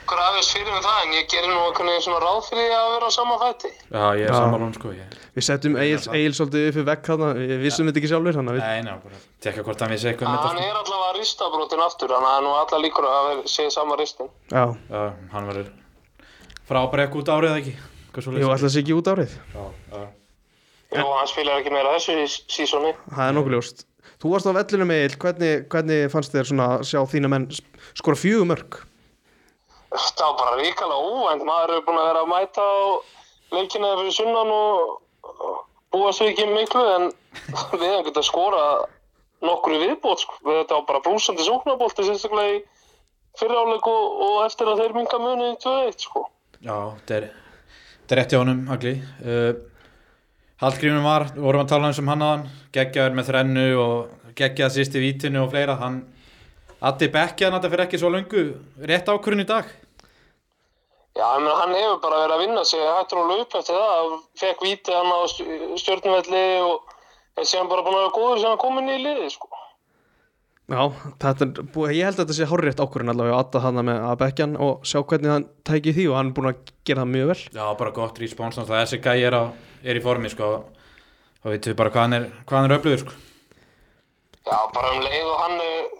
Speaker 3: grafist fyrir um það en ég gerir nú einhvern veginn svona ráð fyrir því að vera á sama fætti.
Speaker 1: Já, ég er samanlón sko ég.
Speaker 2: Við settum Egil, Egil svolítið upp í vekk þarna, við vissum þetta ekki sjálfur þannig að við,
Speaker 1: Nei, ná, bara tekka hvort hann vissi eitthvað um
Speaker 3: Hann
Speaker 1: þetta,
Speaker 3: er allavega rista brotin aftur þannig að það er nú alla líkur að það sé sama ristin.
Speaker 2: já,
Speaker 1: sko. Já, hann verður frábæri ekki út árið eða ekki Hvað svo
Speaker 2: jú, alltaf sé ekki út árið,
Speaker 1: leysið?
Speaker 3: Jú, hann spilar ekki meira þessu í sísóni.
Speaker 2: það er nokkuð ljóst. Þú varst á vellinum Egil, hvernig, hvernig fannst þér svona að sjá þína menn sk- skora fjögumörk?
Speaker 3: Það var bara ríkala óvænt, maður hefur búin að vera að mæta á leikina fyrir sunnan og búa sig ekki miklu en við hefum getað skorað nokkru viðbót, sko. Við þetta var bara brúsandi sóknabólti sérstaklega í fyrra áleik og, og eftir að þeir minga munið í 2-1 sko.
Speaker 1: Já, þetta er þetta er rétt hjá honum, Agli uh, Hallgrímur var, vorum að tala um sem hann aðan geggjaður með þrennu og geggjað síst í vítinu og fleira hann Addi bekkjaðan þetta fyrir ekki svo löngu rétt ákvörun í dag
Speaker 3: Já, ég meina, hann hefur bara verið að vinna sig hættur og laup eftir það, hann fekk vítið hann á stjórnvelli og er síðan bara búin að vera góður sem hann komin í liðið sko.
Speaker 2: Já, þetta, er búið- ég held að þetta sé hárétt ákvörðin allavega að atta hana með að bekkjan og sjá hvernig hann tæki því og hann er búin að gera það mjög vel.
Speaker 1: Já, bara gott respons það þessi gæi er, á, er í formi sko og veitum við bara hvað hann er, hvað hann er öflugur sko
Speaker 3: Já, bara um leið og hann eh,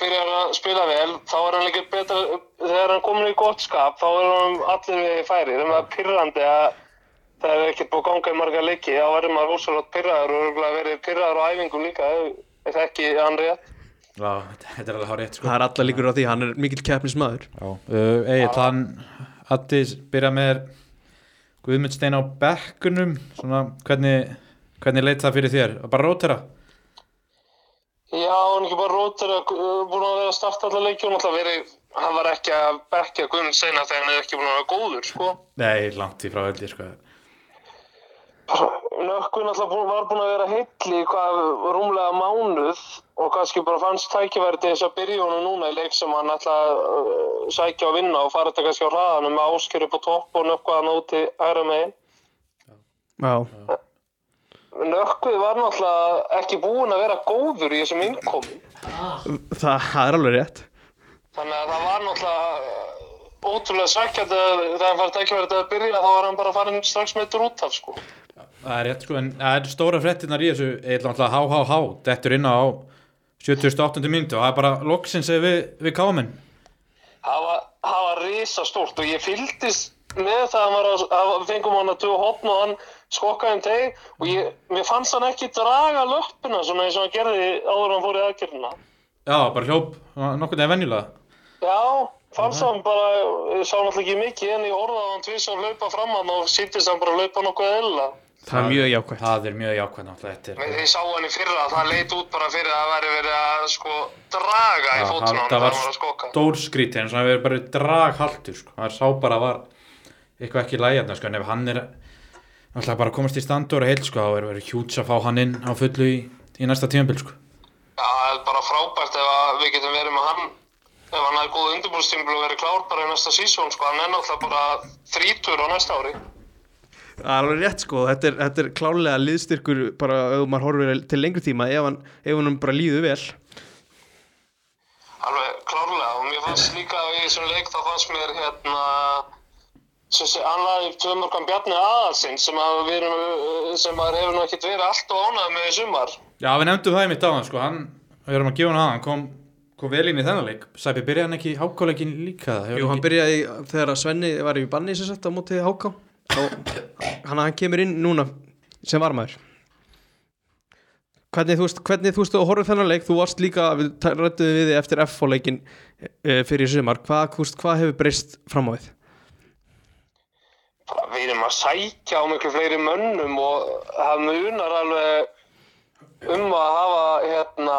Speaker 3: byrjar að spila vel, þá er hann líka betra, þegar hann komin í gott skap, þá er hann allir við færi. Það er pyrrandi að það er ekkert búið að ganga í marga leiki, þá verður maður ósvöld pyrraður og örugglega verið pyrraður á æfingum líka, ef- ef ekki hann rétt.
Speaker 1: Já, þetta þetta er alveg hár rétt sko
Speaker 2: Það er alla líkur á því, hann er mikill keppnismæður.
Speaker 1: Já, uh, Egil, hann Addi byrja með þér Guðmundstein á bekkunum svona, hvernig, hvernig leit það fyrir þér bara rótera
Speaker 3: Já, hann ekki bara rótir að búin að vera að starta alla leiki og náttúrulega verið, hann var ekki að bekka Guðmund Seinar þegar hann er ekki búin að vera góður, sko.
Speaker 1: Nei, langt í frá held ég sko
Speaker 3: Nökkvin alltaf búin, var búin að vera heill í hvað rúmlega mánuð og kannski bara fannst tækifæri til þess að byrja honum núna í leik sem hann alltaf uh, sækja að vinna og fara þetta kannski á hraðanum með áskjör upp á topp og nökkvaðan úti hægra megin.
Speaker 2: Já,
Speaker 3: Nökkvið var náttúrulega ekki búin að vera góður í þessum innkomi
Speaker 2: það, það er alveg rétt.
Speaker 3: þannig að það var náttúrulega uh, ótrúlega sækjandi að þegar hann fær tækifæri til að byrja þá var hann bara farin strax með drútaf sko.
Speaker 1: Það er rétt sko, en það er stóra frettinnar í þessu Egil, náttúrulega há, há, há, dettur inn á 78. myndu og það er bara loksins við, við káminn
Speaker 3: það var, það var risastórt og ég fylgdist með það hann var að, að við fengum hann að duða hopn og hann skokkaði um teg og ég, mér fannst hann ekki draga löppina svona eins og hann gerði áður en hann fór í aðgerðina
Speaker 1: Já, bara hljóp, nokkuð er venjulega
Speaker 3: já, fannst hann bara ég sá náttúrulega ekki mikið en ég horfði að hann tvís að hlaupa fram hann og sýttist hann bara að hlaupa nokkuð eðla
Speaker 2: Það er mjög jákvæmt.
Speaker 1: Það er mjög jákvæmt náttúrulega þetta er-
Speaker 3: ég sá hann í fyrra að það leit út bara fyrir að það væri verið að sko draga í
Speaker 1: Já,
Speaker 3: fótuna
Speaker 1: hann-
Speaker 3: hann
Speaker 1: Það
Speaker 3: þegar
Speaker 1: var
Speaker 3: hann var að skokka
Speaker 1: stór skrítið en svona við erum bara draghaltur sko. það er sá bara að var eitthvað ekki lægjarnar sko. en ef hann er alltaf bara að komast í standur og heilt sko, þá er verið hjúts að fá hann inn á fullu í, í næsta tímanbíl sko.
Speaker 3: Já, það er bara frábært ef að við getum verið með hann ef hann er góð undirbúrstímpil og verið klár bara í næsta sísón, sko, hann er náttúrulega bara þrítur á næsta ári.
Speaker 2: Það er alveg rétt sko, þetta er, þetta er klálega liðstyrkur bara ef maður horfir til lengri tíma ef hann, ef hann bara líður vel.
Speaker 3: Alveg klárlega og mér fannst líka í þessum leik þá fannst mér hérna sem sé, hann laði tvö mörgum Bjarni aðalsinn sem, að við erum, uh, sem maður hefur nú ekkert verið alltaf ánægð með í sumar.
Speaker 1: Já, við nefndum það í mitt á hann, sko, hann, við erum að gefa hann að hann kom, kom vel inn í þennan leik. Sæpi, byrjaði hann ekki hákáleikin líka? það? Hefur
Speaker 2: Jú, hann
Speaker 1: ekki-
Speaker 2: byrjaði í- þegar að Svenni var í banni sem sett á móti HK þá, hann, hann kemur inn núna sem varmaður Hvernig þú veist, hvernig þú veist og horfðu þennan leik, þú varst líka við rættuðum við þig eftir F-fóleikin e, fyrir í sumar, hvað, þú veist, hvað hefur breyst fram á við?
Speaker 3: Bara Við erum að sækja á miklu fleiri mönnum og það munar alveg um að hafa hérna,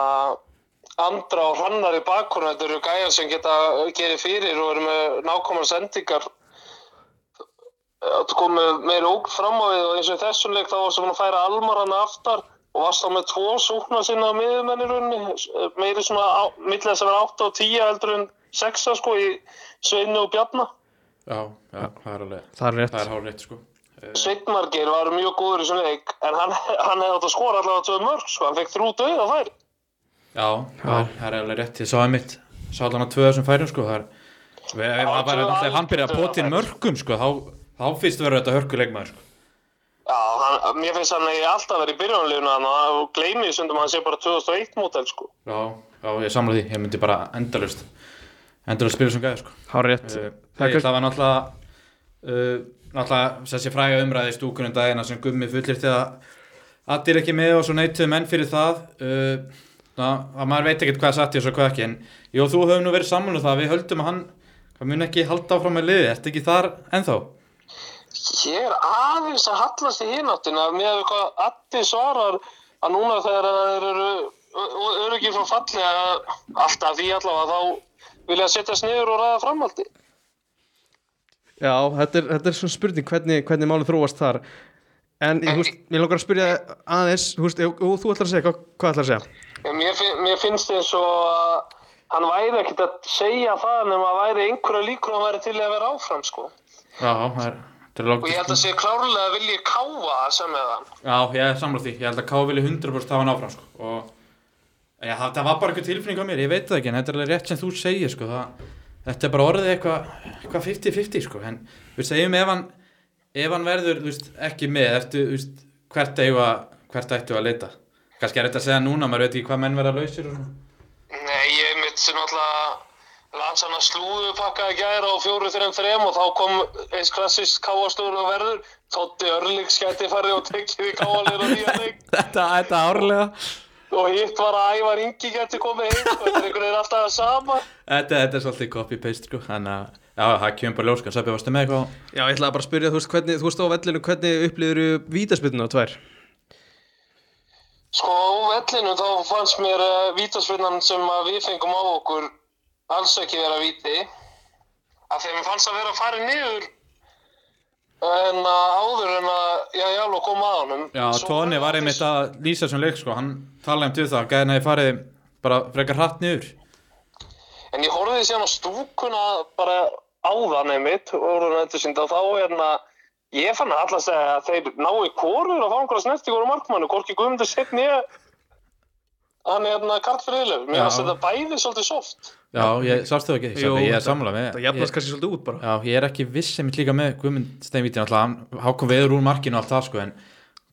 Speaker 3: andra og hrannar í bakgrunn. Þetta eru gæjar sem geta gerið fyrir og eru með nákvæmar sendingar. Þetta kom með meira óg fram á við og eins og í þessum leik þá varstu búin að færa almarann aftar og varst þá með tvo súkna sinna miðumenn í rauninni. Meiri svona á, millega sem er 8 og 10 heldur en 6 sko í Sveinu og Bjarnar.
Speaker 1: Já, já, það er alveg,
Speaker 2: Það er rétt,
Speaker 1: það er hálf sko.
Speaker 3: Sveitmargir var mjög góður í svona leik en hann, hann hefði átt að skora allavega tvö mörg sko, hann fekk þrjú döið á þær
Speaker 1: Já, það er- það er alveg rétt, ég sá það mitt, sá allan að tvö þessum færum, sko, það er, við, við, það var alltaf, ef hann byrjaði að potin mörgum, sko, þá, þá fyrst verður þetta hörkuleikmaður, sko.
Speaker 3: Já, hann, mér finnst hann eigi alltaf verið í byrjunarleginu hann og gleymið sundum að hann sé bara 2001 mótel sko
Speaker 1: Já, já, ég samla því, ég myndi bara endalust, endalust spila sem gæði, sko.
Speaker 2: það er rétt
Speaker 1: Eh,
Speaker 2: Það er
Speaker 1: Nei, það var náttúrulega uh, náttúrulega þessi fræga umræði í stúkunum dagina sem gummi fullir til að allir ekki með og svo neytuðu menn fyrir það uh, na, að maður veit ekkert hvað satt ég og svo hvað ekki en jú, þú höfum nú verið saman um það við höldum að hann hann mun ekki halda áfram með liði, ertu ekki þar ennþá?
Speaker 3: Ég er aðeins að hallast í hináttina með eitthvað allir svarar að núna þegar þeir eru örugir frá falli að alltaf því allavega þá vilja setjast niður og ræða framaldi
Speaker 2: Já, þetta er, þetta er svona spurning hvernig, hvernig málið þróast þar en ég, húst, ég langar að spyrja þig aðeins húst, og, og þú ætlar að segja, hvað, hvað ætlar að segja?
Speaker 3: En Mér, fin- mér finnst eins og að hann væri ekkert að segja það nema að væri einhverja líkur að hann væri til í að vera áfram sko.
Speaker 1: Já, það er, það er
Speaker 3: Og ég held
Speaker 1: lókist
Speaker 3: að sé klárlega að vilja káfa það sem með hann.
Speaker 1: Já, ég er samla því, ég held að Ká vilja 100% hafa hann áfram sko. og já, það, það var bara eitthvað tilfinning á mér, ég veit það ekki en þetta er alveg rétt sem þú segir sko. það, þetta er bara orðið eitthvað eitthvað 50-50 sko. en við segjum ef hann ef hann verður þú veist, ekki með eftir þú veist, hvert, eiga, hvert ættu að leita kannski er þetta að segja núna, maður veit ekki hvað menn verða lausir og svona.
Speaker 3: Nei, ég mitt sem alltaf lands hann að slúðu pakkaði gæra á fjóru þrejum þrejum og þá kom eins klassist káastúr og verður. Tótti Örlíks gæti farið og tekið í káalir og nýja leik.
Speaker 1: þetta, þetta árlega
Speaker 3: Og hitt var að Ævar Ingi gæti komið heim og þetta er einhvern veginn alltaf það sama.
Speaker 1: þetta, þetta er svolítið copy-paste sko. þannig að já, það kemur bara ljóskan, Sæpi, varstu með eitthvað á-
Speaker 2: Já, ég ætlaði bara að spyrja þú veist, hvernig, þú veist á vellinu hvernig upplýður vítaspilna tvær?
Speaker 3: Sko á vellinu þá fannst mér uh, vítaspinnan sem að við fengum á okkur alls ekki vera víti af því að mér fannst að vera að fara niður en að áður en að já já alveg kom að honum
Speaker 1: Já,
Speaker 3: Svo
Speaker 1: Tóni var einmitt að lýsa sem leik sko, hann talaði um til það, gæðin að ég farið bara frekar hratt niður
Speaker 3: En ég horfði síðan á stúkuna bara áðan einmitt og orðan þetta sínd og þá er hann að ég fann að allast að þeir nái korur að fá einhverja snerti voru markmannu, hvorki Guðmundur sett nýja hann er hérna Karl Friðlöf, mér
Speaker 1: Já.
Speaker 3: fannst þetta bæði svolítið soft
Speaker 1: Já, ég sást þau ekki,
Speaker 2: Jú,
Speaker 1: Jú, ég er
Speaker 2: þetta-
Speaker 1: samlega með
Speaker 2: Það jafnast
Speaker 1: ég,
Speaker 2: kannski svolítið út bara
Speaker 1: Já, ég er ekki viss sem ég líka með Guðmund Steinvítin alltaf, hann hákom veður úr markinu og allt það sko, en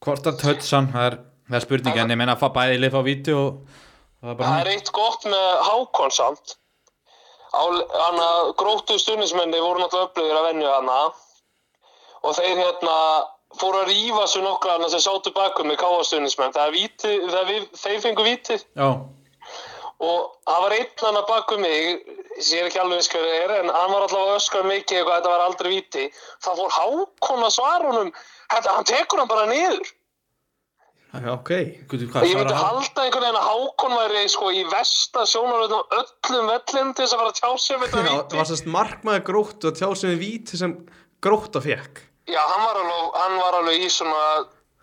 Speaker 1: hvort að tötts hann það er, það er spurningi, en ég meina að fá bæði lið á víti og það er bara
Speaker 3: Það er
Speaker 1: hann
Speaker 3: eitt gott með Hákon samt. Á- Hann að gróttu stundismenni voru náttúrulega upplöðir að venju hana og þeir hérna fóru að rífa svo nokkra hana sem sátu bakum með káastundismenn. Það er víti, það er við, þeir fengu vítið
Speaker 1: Já,
Speaker 3: og það var einn hann að bakum mig, sem ég er ekki alveg viss hver það er, en hann var allavega að öskra mikið eitthvað, þetta var aldrei víti. Það fór Hákon að svara honum, þetta, hann tekur hann bara niður.
Speaker 2: Já, ok
Speaker 1: guðu
Speaker 3: Og
Speaker 1: hvað
Speaker 3: Ég myndi
Speaker 1: svarar hann?
Speaker 3: halda einhvern veginn að Hákon væri sko í vesta sjónaröðum öllum vellum til þess að fara að tjá sig um
Speaker 2: Já,
Speaker 3: þetta
Speaker 2: það var
Speaker 3: víti.
Speaker 2: sérst markmaður grótt og tjá sem við víti sem grótt að fekk
Speaker 3: Já, hann var, alveg, hann var alveg í svona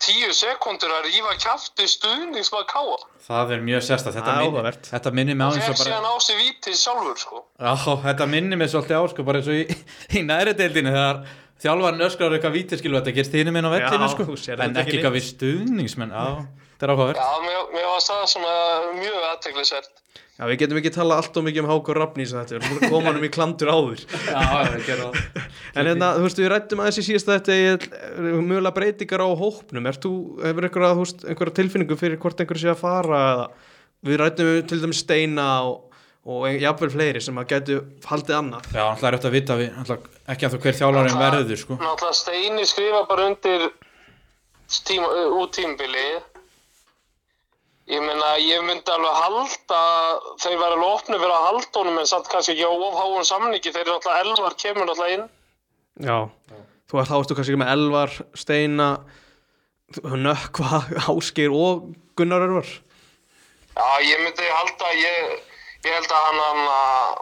Speaker 3: tíu sekundur að rífa kjafti stuðnings maður káa.
Speaker 1: Það er mjög sérstætt, þetta,
Speaker 2: Það er
Speaker 1: minn,
Speaker 2: áhugavert.
Speaker 1: þetta minnir mig á eins
Speaker 3: Þegar
Speaker 1: og bara
Speaker 3: síðan á sig vítið sjálfur sko.
Speaker 1: Já, þetta minnir mig svolítið á sko, bara eins og í, í næri deildinu þegar þjálfarinn öskrar eitthvað vítiskilu þetta gerst hinum inn á vellinu
Speaker 2: Já,
Speaker 1: sko,
Speaker 2: þú sérð
Speaker 1: en
Speaker 2: þetta
Speaker 1: ekki
Speaker 2: ekki
Speaker 1: eitthvað við stuðningsmenn, já, þetta er áhugavert
Speaker 3: Já, mér, mér var það svona mjög aðteglisvert.
Speaker 2: Já, við getum ekki tala alltaf mikið um Hákur Rafnís að þetta, við erum búin að koma hann um í klandur áður
Speaker 5: Já, já, við gerum það
Speaker 2: En hérna, þú veist, við rættum aðeins í síðast þetta mjögulega eh, breytingar á hópnum er þú, hefur einhverja, þú veist, einhverja tilfinningu fyrir hvort einhverju sé að fara eða við rættum um til dæmis Steina og, og ein- jafnvel fleiri sem að gætu haldið annað
Speaker 1: Já, alltaf er þetta að vita við, alltaf, ekki að þú hver þjálfarinn verður sko.
Speaker 3: Náttúrulega Steini skrifa bara undir tíma, út tímabilið. Ég meina, ég myndi alveg halda, þeir væri alveg opnu fyrir að halda honum, en samt kannski ekki á ofháum samningi, þeir eru alltaf elvar, kemur alltaf inn.
Speaker 2: Já, þú veist, þá ertu kannski ekki með Elvar, Steina Nökkva, Ásgeir og Gunnar Örvar
Speaker 3: Já, ég myndi halda, ég, ég held að hann, hann að,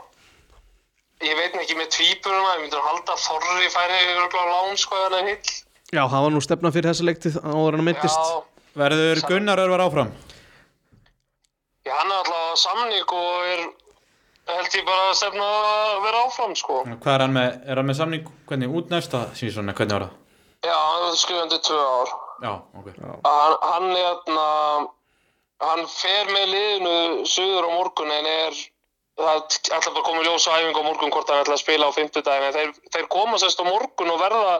Speaker 3: ég veit nú ekki með tvíburuna, ég myndi halda að Þorri færi örgulega á lán, sko, eða hill.
Speaker 2: Já, það var nú stefna fyrir þessa leiktið áður en að myndist
Speaker 3: Já,
Speaker 1: Verður Gunnar örvar áfram?
Speaker 3: já, hann er alltaf á samning og er, held ég bara að stefna að vera áfram, sko.
Speaker 1: Hvað er hann með, er hann með samning, hvernig út næsta sísona, hvernig var það?
Speaker 3: Já, hann er skrifandi tvö ár.
Speaker 1: Já, ok
Speaker 3: Hann, hann er hérna, hann fer með liðinu suður á morgun en er, það ætla bara að koma í ljós á æfingu á morgun hvort hann ætla að spila á fimmtudagin en þeir, þeir koma sérst á morgun og verða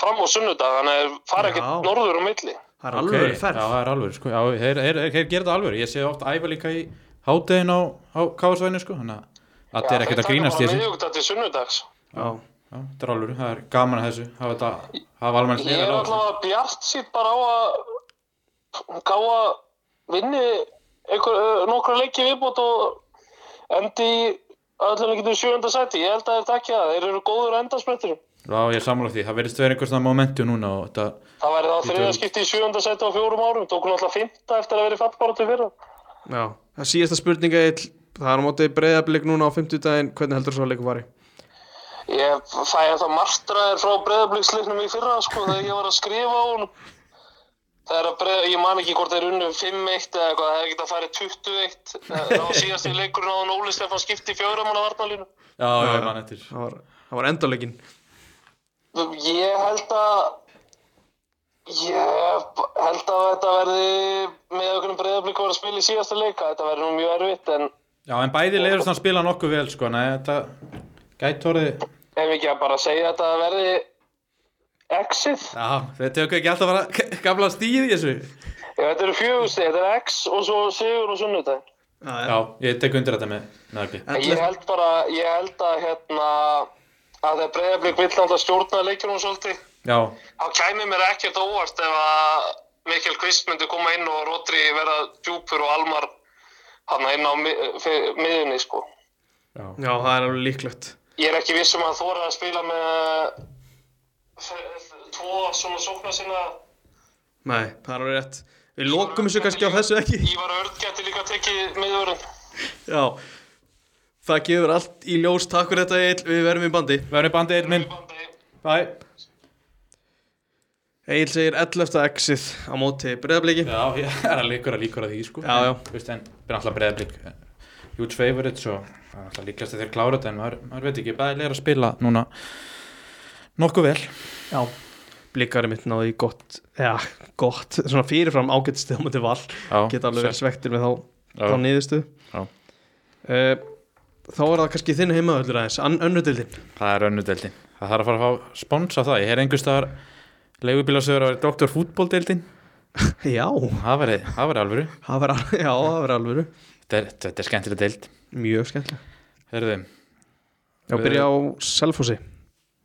Speaker 3: fram á sunnudag, þannig að þeir fara
Speaker 2: Já.
Speaker 3: ekkert norður á milli.
Speaker 2: Það er alveg
Speaker 1: Ok, Já,
Speaker 2: ferð
Speaker 1: það er alveg, sko, já, þeir, þeir, þeir, þeir gera þetta alveg Ég sé oft æfa líka í hátegin á, á káðsvæðinu, sko Þannig að þetta er ekkert að grínast í
Speaker 3: þessi.
Speaker 1: þessu Já,
Speaker 3: Það er til sunnudags.
Speaker 2: Já.
Speaker 1: þetta er alveg, það er gaman að þessu Hafa þetta, hafa almennt
Speaker 3: Ég er
Speaker 1: á þessu.
Speaker 3: allavega bjart sýtt bara á að gá að vinni einhver, ö, nokkra leiki viðbót og endi í allavega getum sjönda sæti. Ég held að þeir takja það. Þeir eru góður endarsprettur.
Speaker 1: Já, ég er sammála því, það verðist verið einhvers svona momentu núna og þetta,
Speaker 3: Það væri það
Speaker 1: Bíddu.
Speaker 3: þriða skipti í sjönda sæti á fjórum árum. Tók hún alltaf fymta eftir að vera í fattbáratu fyrra.
Speaker 2: Já, það síðasta spurninga er það er á móti breyðablik núna á 50 daginn hvernig heldur svo að leiku fari?
Speaker 3: Ég fæ að það martraðir frá breðabliksleiknum í fyrra sko þegar ég var að skrifa á hún. Það er að breða, ég man ekki hvort þeir unnu 5-1 eða eitthvað, það hefði getað farið 21. Það var síðast í leikurinn á hann Óli Stefán skipti í fjóramanna varnalínu.
Speaker 1: já, já, ég man eftir
Speaker 2: Það var, það var endalegin
Speaker 3: Ég held að, ég held að þetta verði með okkur breðablík að vera að spila í síðasta leika. Þetta verði nú mjög erfitt en
Speaker 1: Já, en bæði leiðurst hann spila nokkuð vel, sko Nei, þetta gæti orðið
Speaker 3: ef ekki að bara segja að þetta verði exit.
Speaker 1: Já, þetta hefur ekki alltaf bara gamla stíð í þessu
Speaker 3: Ef þetta eru fjögusti, þetta er X og svo Sigur og Sunnudaginn.
Speaker 1: Já, ég tek undir þetta með, með ekki
Speaker 3: Ég held bara, ég held að hérna að þegar Breiðablík vill alltaf stjórna leikjunum svolítið
Speaker 1: Já,
Speaker 3: þá kæmi mér ekkert óvart ef að Mikkel Kvist myndi koma inn og Rodri vera djúpur og Almar hann inn á mi- fi- miðjunni sko.
Speaker 1: já,
Speaker 2: Já, það er alveg líklegt
Speaker 3: Ég er ekki viss um að þóra að spila með f- f- tvo svona sókna sinna
Speaker 2: Nei, það er alveg rétt Við lokum þessu kannski á þessu ekki
Speaker 3: Ívar Örn geti líka tekið miðjörun
Speaker 2: Já, það gefur allt í ljós takk fyrir þetta Egil, við verðum í bandi
Speaker 1: verður bandið einn minn, bæ
Speaker 2: Egil segir 11. exit á móti breyðabliki
Speaker 1: Já, ég er að líkur að líkur að því, sko
Speaker 2: Já, já.
Speaker 1: Þú veist, en við erum alltaf breyðablík Huge favorites og það er alltaf líkast að þeir klára þetta en maður, maður veit ekki, bæði leiður að spila núna nokkuð vel
Speaker 2: Já, blikari mitt náði í gott Já, gott, svona fyrirfram ágættstið á móti val
Speaker 1: Já,
Speaker 2: Geta alveg verið svektir með þá þá
Speaker 1: Já,
Speaker 2: niðurstuð
Speaker 1: Já.
Speaker 2: Eh, Þá er það kannski þinn heimaðöldur aðeins ann- önnur dildin
Speaker 1: það er önnudeldin Það þarf að fara að fá spons á það Ég heyr einhvers staðar leigubílasögur á Dr. Fútboldeldin
Speaker 2: Já,
Speaker 1: Það væri það væri alvöru
Speaker 2: það verður al- já, það verður alvöru
Speaker 1: Þetta er, þetta er skemmtilega deild
Speaker 2: Mjög skemmtileg
Speaker 1: Herðu,
Speaker 2: Já, byrja á Selfossi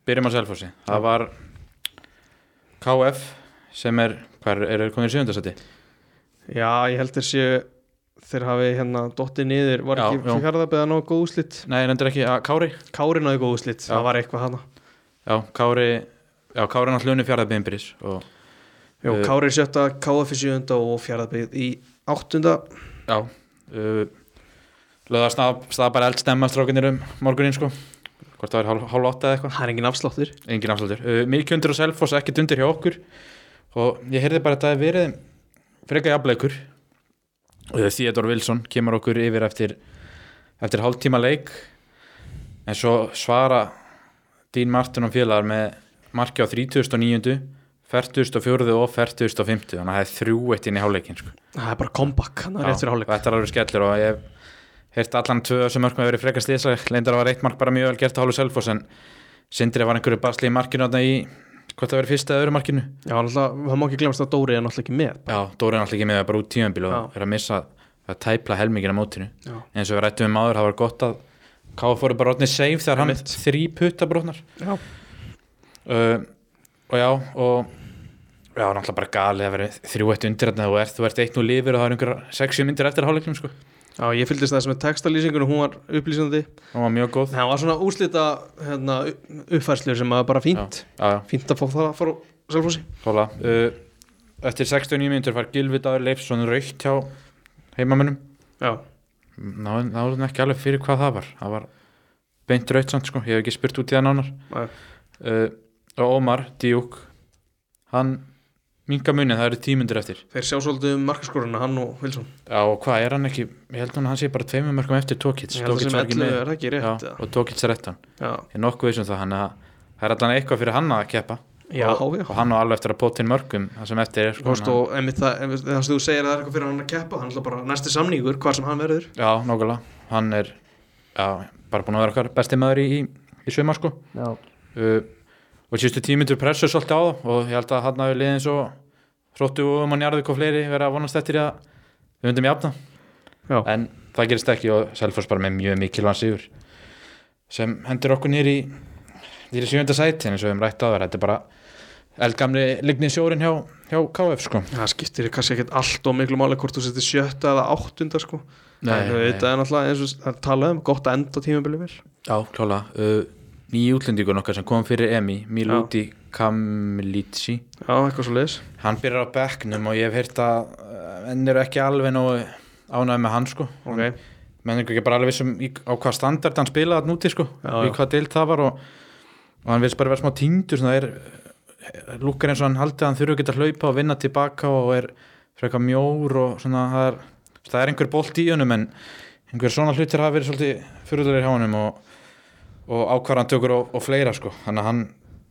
Speaker 1: byrjum á Selfossi Það var KF sem er, hvað er, er komið í sjöfundasæti?
Speaker 2: Já, ég held þeir séu þeir hafi hérna dottið niður var
Speaker 1: Já,
Speaker 2: ekki
Speaker 1: já.
Speaker 2: fyrir harðabeða nóg góð úslit
Speaker 1: Nei, nendur ekki að Kári
Speaker 2: Kári náði góð úslit, það var eitthvað hana
Speaker 1: Já, Kári Já, Kári náttúrulega unni fjárðabimbiris og
Speaker 2: Jó,
Speaker 1: Eh.
Speaker 2: Kári er sjötta, KF er sjöunda og fjaraðabeð í áttunda
Speaker 1: já uh, löða stað, stað bara eldstemma strákinir um morgunin sko hvort það er hálf, hálf átta eða eitthvað
Speaker 2: Það er engin afsláttur
Speaker 1: engin afslutur, uh, mikið undir og selfoss ekkert undir hjá okkur og ég heyrði bara að það hef verið frekar jafnleikur uh, Theodor Wilson kemur okkur yfir eftir eftir hálftíma leik en svo svara Dín Martin og félagar með marki á 3009 4004 og 4050 þannig að það er þrjú eitt inn í hálfleikin sko.
Speaker 2: Það er bara comeback, hann er rétt fyrir hálfleik
Speaker 1: þetta er alveg skellur og ég heyrt allan tvö sem mörgum hefur verið frekar slíðsæk leindar var eitt mark bara mjög vel gert á hálfu Selfoss en Sindri var einhverju basli í markinu þarna í hvort það verið fyrsta eða öðru markinu
Speaker 2: Já, náttúrulega, það má ekki glemast að Dóri er náttúrulega ekki með
Speaker 1: Já, Dóri er alltaf ekki með það er bara út tímanbíl og
Speaker 2: Já.
Speaker 1: er að missa að tæpla helmingin á mótinu
Speaker 2: Já.
Speaker 1: eins og við rættum um áður, það var gott að Káfa fóru bara rotnið safe þegar hann þrý putta brotnar
Speaker 2: Já,
Speaker 1: uh, og já og já, náttúrulega bara gali að vera þrjú eitt undir þarna og ert, þú ert eitt nú lifir og það er einhverja 60 myndir eftir hálfleiknum sko
Speaker 2: ég fylgdist þess með textalýsingunum, hún var upplýsandi
Speaker 1: það var mjög góð
Speaker 2: En það var svona úslita hérna, uppfærslu sem var bara
Speaker 1: já,
Speaker 2: fínt
Speaker 1: já, já,
Speaker 2: Fínt að fá það frá Selfossi
Speaker 1: klála uh, eftir 69 myndir var Gilvi Dagur Leifsson raukt hjá heimamönnum
Speaker 2: Já,
Speaker 1: náðum náðu ekki alveg fyrir hvað það var það var beint raukt samt sko ég hef ekki spurt út í það nánar
Speaker 2: já,
Speaker 1: uh, og Ómar Díuk hann minga munin, það eru tímyndir eftir
Speaker 2: þeir sjá svolítið um markaskoruna, hann og Wilson
Speaker 1: já og hvað er hann ekki, ég held hún að hann sé bara tveimur mörgum eftir Tókits
Speaker 2: Ég held að sem
Speaker 1: var ekki
Speaker 2: 11
Speaker 1: með
Speaker 2: er það ekki rétt
Speaker 1: já,
Speaker 2: eða?
Speaker 1: og tók eitt sér réttan
Speaker 2: Já,
Speaker 1: ég er nokkuð veist um það hann að það er allan eitthvað fyrir hann að keppa
Speaker 2: já,
Speaker 1: og,
Speaker 2: já
Speaker 1: og hann á alveg eftir að pótin mörgum það sem eftir er sko.
Speaker 2: Þú veist, og einmitt það, einmitt það sem þú segir að það er eitthvað fyrir hann að keppa hann er náttúrulega bara næsti samningur, hvað sem hann verður
Speaker 1: já, nokkulega, hann er já, bara búin að vera okkar besti maður í, í, í svöma sko
Speaker 2: Já,
Speaker 1: uh, og síðustu tímyndur pressu svolítið á það og ég held að hann hafi liðin svo þróttu og um hann jarðið og fleiri vera að vonast eftir því að við myndum jafna
Speaker 2: já,
Speaker 1: en það gerist ekki og Selfoss bara með mjög mikilvæg sigur sem hendur okkur nýri nýri sjönda sæti eins og við höfum rætt áður þetta er bara eldgamli lignið sjórin hjá, hjá KF sko
Speaker 2: það skiptir kannski ekkert allt og miklu máli hvort þú settir sjötta eða áttunda sko
Speaker 1: Nei,
Speaker 2: En
Speaker 1: nei.
Speaker 2: þetta er náttúrulega eins og það er talað um gott að enda tímabili vel
Speaker 1: Já, klála uh, nýji útlendingun okkar sem kom fyrir Emi Miluti Kamlitsi
Speaker 2: Já, eitthvað svo leiðis
Speaker 1: hann byrjar á bekknum og ég hef heyrt að uh, enn eru ekki alveg nógu ánægð með hann sko
Speaker 2: okay.
Speaker 1: menn ekki bara alveg vissum í, á hvað standard hann spilaði hann úti sko,
Speaker 2: Já,
Speaker 1: og í
Speaker 2: já.
Speaker 1: hvað dild það var og, og hann virðist bara vera smá týndur svona, er, lúkar eins og hann haldi að hann þurfi að geta að hlaupa og vinna tilbaka og er frekar mjór og svona það er, það er einhver bolt í honum en einhver svona hlutir hafa verið svolítið fyrirlega hjá honum og, og ákvarðan tökur og, og fleira sko, þannig að hann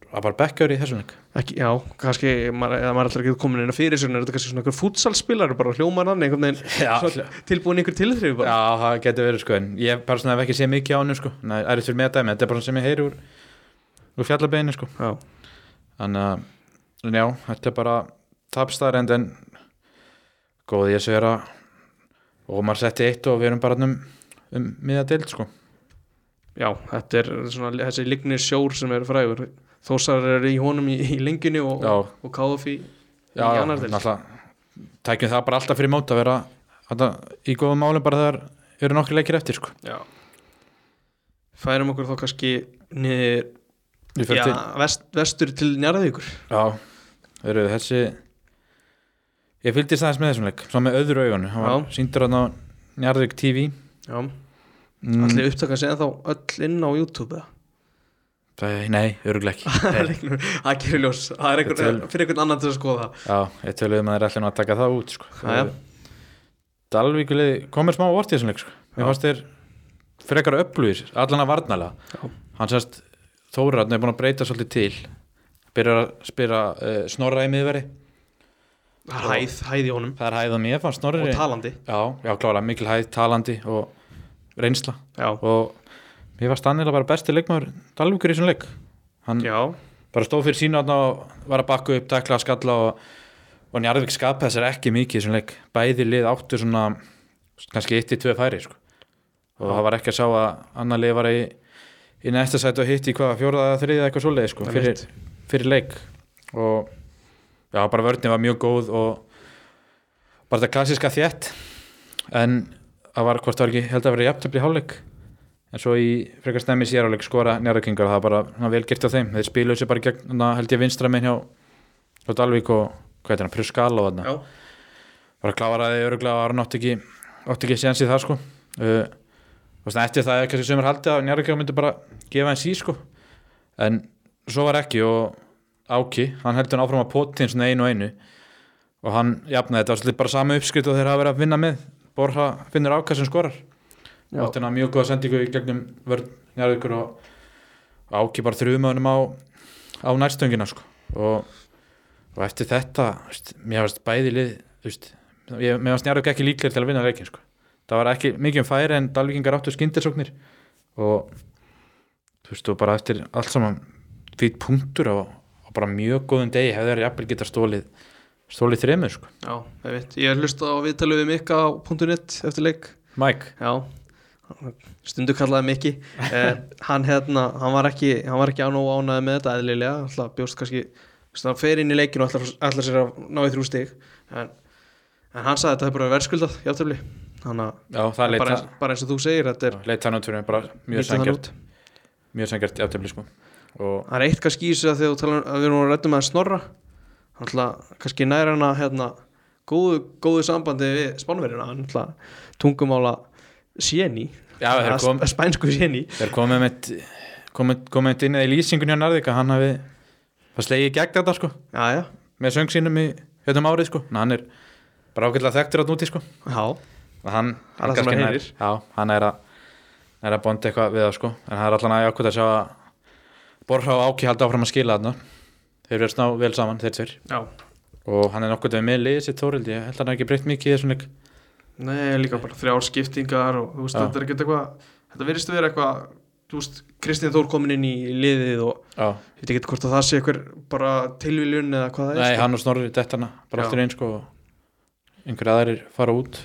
Speaker 1: var bara bekkjör í þessum leik
Speaker 2: ekki, Já, kannski, maður, eða maður er alltaf ekki komin inn að fyrir sér en er þetta kannski svona einhver futsalspilar bara hljómar hann einhvern veginn
Speaker 1: Já,
Speaker 2: svona, tilbúin einhver tilþrif bara
Speaker 1: Já, það getur verið sko en ég bara svona hef ekki séð mikið á hennu sko Nei, það er fyrir mig að dæmi, þetta er bara svona sem ég heyri úr úr fjallabeginni sko
Speaker 2: Já,
Speaker 1: þannig að en já, þetta er bara tapstar en en góð ég segir að og maður setti eitt og við erum bara þarna um, um miða deild sko
Speaker 2: já þetta er svona þessi lignir sjór sem er frægur Þósar er í honum í, í lenginu og,
Speaker 1: Já.
Speaker 2: og, og KF í, í annar til
Speaker 1: tækjum það bara alltaf fyrir mót að vera þetta, í góðum málum bara þegar eru nokkri leikir eftir sko
Speaker 2: Já Færum okkur þá kannski niður,
Speaker 1: Ég fer
Speaker 2: já,
Speaker 1: til-
Speaker 2: vest, vestur til Njarðvíkur
Speaker 1: já, eru þessi ég fylgdist aðeins með þessum leik svo með öðru augunu, hann var
Speaker 2: Já.
Speaker 1: síndur hann á Njarðvík Mm, TV
Speaker 2: Já, allir upptaka sig ennþá öll inn á YouTube eða
Speaker 1: Það- nei, örugleik
Speaker 2: Það er leiknum- það gerir ljós það er einhver,
Speaker 1: Þetta
Speaker 2: fyrir einhvern annan til að skoða
Speaker 1: Já, ég töluðum að það er allir nú að taka það út sko.
Speaker 2: Jæja.
Speaker 1: Dalvíkulið komir smá vort í þessum leik sko. Mér
Speaker 2: Já.
Speaker 1: fannst þér frekar öflugir, allan að varnalega
Speaker 2: Já.
Speaker 1: Hann sérst Þóraðn er búin að breyta svolítið til byrjar að spyrja uh, snorra í miðveri
Speaker 2: það er hæð, hæð í honum
Speaker 1: Það er hæðum ég fannst snorri
Speaker 2: og talandi
Speaker 1: Já, já, klála, mikil hæð, talandi og reynsla
Speaker 2: já,
Speaker 1: og mér fannst hann eiginlega bara besti leikmaður Dalvíkur í þessum leik Hann
Speaker 2: já,
Speaker 1: bara stóð fyrir sínu þarna og var að bakka upp, tekla, skalla og, og Njarðvík skapa þessar ekki mikið í þessum leik. Bæði lið áttu svona kannski eitt í tvö færi sko. og það var ekki að sjá að annar lið var í, í næsta sæti og hitti í hvað fjórða eða þriðja eitthvað svoleiði sko,
Speaker 2: Það er
Speaker 1: fyrir, fyrir leik og já, bara vörðin var mjög góð og bara þetta klassiska þétt en það var hvort það var ekki held að vera jafntöfli hálfleik en svo í frekar stemmi séráleik skora njárðarkingar og það er bara svona, vel gert á þeim þeir spiluðu sér bara gegn, na, held ég vinstra minn hjá, hjá Dalvík og hvað heitir hann, Pruskal og þarna
Speaker 2: já,
Speaker 1: bara kláraði öruglega að hann átti ekki átti ekki séns í það sko uh, og svona eftir það er kannski sömur haldið að njárðarkingar myndi bara gefa hans í sko en svo var ekki og Áki, hann heldur hann áfram að potin svona einu og einu og hann jafnaði þetta var svolítið bara sama uppskrift og þeir hafa verið að vinna með Borja finnur ákast sem skorar
Speaker 2: já.
Speaker 1: átti hann mjög góða sendingu í gegnum vörn Njarðvíkur og áki bara þrjumöðunum á, á nærstöngina sko. og, og eftir þetta veist, mér varst bæði lið veist, ég, mér varst Njarðvík ekki líklega til að vinna leikin sko. það var ekki mikið um færi en Dalvíkingar áttu skyndisóknir og þú veist og bara eftir allt saman fýtt punktur á, á bara mjög góðum degi hefði þær jafnvel geta stólið stólið þremur sko.
Speaker 2: Já, ég veit, ég hlusta á viðtalið við Mikka á .net eftir leik
Speaker 1: Mike,
Speaker 2: Já, stundu kallaði Mikki eh, Hann hérna, hann var ekki hann var ekki án og ánæði með þetta eðlilega alltaf bjóst kannski, þú veist, hann fer inn í leikinu og allar, allar sér að ná í þrjú stig en, en hann sagði þetta hefur bara verðskuldað játtúrulega, þannig að
Speaker 1: já það leit
Speaker 2: bara, eins, bara eins og þú segir, þetta er
Speaker 1: leitt hann út fyrir mér, bara mjög
Speaker 2: lítur þannig
Speaker 1: sangjart
Speaker 2: út.
Speaker 1: mjög sangjart jafnvel sko. og
Speaker 2: Það er eitt kannski í þessu að þegar þú talar um- að við erum að rættum að snorra þannig að kannski næra hana hérna, góðu, góðu sambandi við spánverjuna hann alltaf tungumála séni
Speaker 1: Já, þeir kom-
Speaker 2: spænsku séni
Speaker 1: þeir komið með komið, komið inn eða í lýsingun hjá Narvik að hann hafi það slegið gegn þetta sko
Speaker 2: já, já,
Speaker 1: með söng sínum í hérna árið sko en hann er bara ágætlega þekktur átt úti sko
Speaker 2: já,
Speaker 1: og hann,
Speaker 2: Það er það sem
Speaker 1: kannski
Speaker 2: maður
Speaker 1: nær-
Speaker 2: heyrir.
Speaker 1: já, hann er að, er að bonda eitthvað við það sko en það er allan að ákvöld að sjá að Borra og Áki haldi áfram að skila þarna þeir verðast ná vel saman þeir tveir
Speaker 2: já.
Speaker 1: og hann er nokkvöld við með liðið sitt Þórildi ég held að hann hafi ekki breytt mikið í þessum leik
Speaker 2: Nei, líka bara þrjár skiptingar og þú veist,
Speaker 1: Já.
Speaker 2: þetta er ekkert eitthvað þetta virðist að vera eitthvað þú veist, Kristín Þór komin inn í liðið og
Speaker 1: já.
Speaker 2: ég veit ekki hvort að það sé eitthvað bara tilviljun eða hvað það er
Speaker 1: Nei,
Speaker 2: sko.
Speaker 1: hann og Snorri detta hana bara
Speaker 2: Já.
Speaker 1: aftur einn sko og einhverja aðrir fara út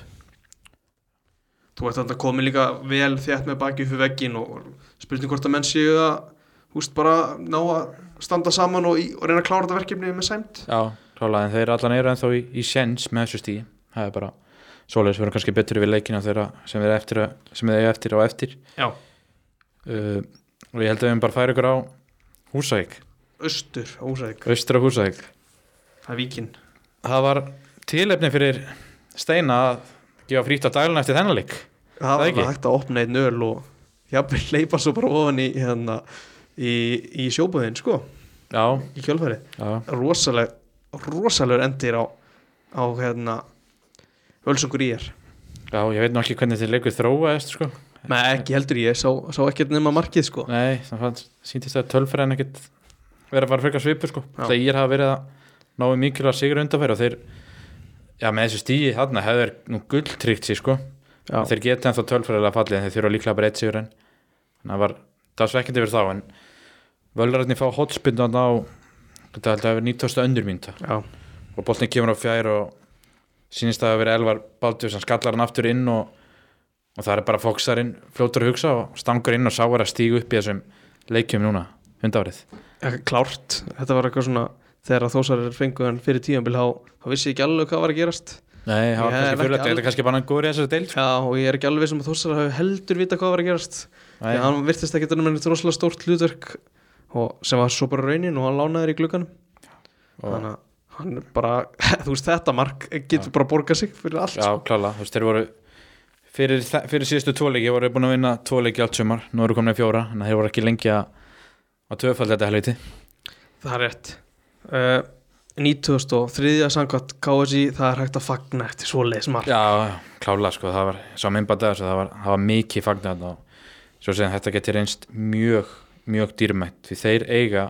Speaker 2: þú ert þannig að koma líka vel þétt með baki fyrir veggin og spurning hvort að menn séu að húst bara ná að standa saman og, í, og reyna að klára þetta verkefni með sæmt
Speaker 1: já, klálega en þeir allan eru ennþá í, í sens með þessu stíði það er bara svoleiðis verður kannski betur við leikina þeirra sem þeir eiga eftir, að- sem þeir eiga eftir á eftir
Speaker 2: Já,
Speaker 1: uh, og ég held að við höfum bara færi ykkur á Húsæk,
Speaker 2: austur, ósæk,
Speaker 1: austra Húsæk
Speaker 2: það er víkin
Speaker 1: það var tilefni fyrir Steina að gefa frítt á dælun eftir þennan leik
Speaker 2: Það var
Speaker 1: ekki?
Speaker 2: alveg hægt að opna einn öl og jafnvel leipa svo bara ofan í hérna, í, í sjóbúðin sko,
Speaker 1: já,
Speaker 2: í kjölfæri
Speaker 1: já,
Speaker 2: rosaleg, rosalegur endir á, á hérna Völsungur í er
Speaker 1: já, ég veit nú ekki hvernig þeir leikur þróaðist sko
Speaker 2: Nei, ekki heldur ég, sá, sá ekkert nema markið sko
Speaker 1: nei, það fannst, síntist að tölfræðin ekkit vera bara frekar svipur sko
Speaker 2: Já.
Speaker 1: það ég hafa verið að náu mikilvæg sigur undanfæri og þeir já, með þessu stíði þarna hefur þeir nú gulltrygt sér sko
Speaker 2: Já.
Speaker 1: þeir geta ennþá tölfræðilega fallið en þeir þurfa líklega bara eitt sigur en þannig að það var, það var svekkjandi fyrir þá en völrarni fá hotspinn að ná þetta held að hefur 90. öndur mínta
Speaker 2: Já,
Speaker 1: og boltin kemur á fjær og sínist að það hafa verið Elvar Baldur sem skallar hann aftur inn og, og það er bara fóksarinn fljótur að hugsa og stangur inn og sáar að stígu upp í þessum leikjum núna hundafrið
Speaker 2: Ekki klárt, þetta var eitthvað svona þegar að þósarir fengu hann fyrir tíðanbíl þá, þá vissi ég ekki alveg hvað var að gerast
Speaker 1: Nei, það
Speaker 2: Ég
Speaker 1: var
Speaker 2: hef
Speaker 1: kannski
Speaker 2: ekki
Speaker 1: fyrirlegt,
Speaker 2: alveg-
Speaker 1: þetta er kannski bara hann góður í þessari deil sko.
Speaker 2: Já, og ég er ekki alveg sem að þósarir hafi heldur vita hvað var að gerast
Speaker 1: Nei.
Speaker 2: því að hann virtist ekki þannig með þetta rosalega stórt hlutverk og sem var svo bara raunin og hann lánaði þér í glugganum
Speaker 1: Og-
Speaker 2: þannig að hann er bara, þú veist þetta mark getur bara borgað sig fyrir allt
Speaker 1: Já, klála, þú veist, þeir voru fyrir, þa- fyrir síðustu tvoleiki voru þeir búin að vinna tvoleiki allt sumar, nú eru komin að fjóra þannig að þeir voru ekki lengi að að tvöfaldi þetta helviti
Speaker 2: Það er rétt uh, 2003. samkvæmt KSI það er hægt að fagna eftir svoleiðis mark
Speaker 1: Já, já, klála, sko, það var sá minnbætt að þessu, það var, það var mikið fagnat og svo sem þetta getur reynst mjög, mjög dýrmætt því þeir eiga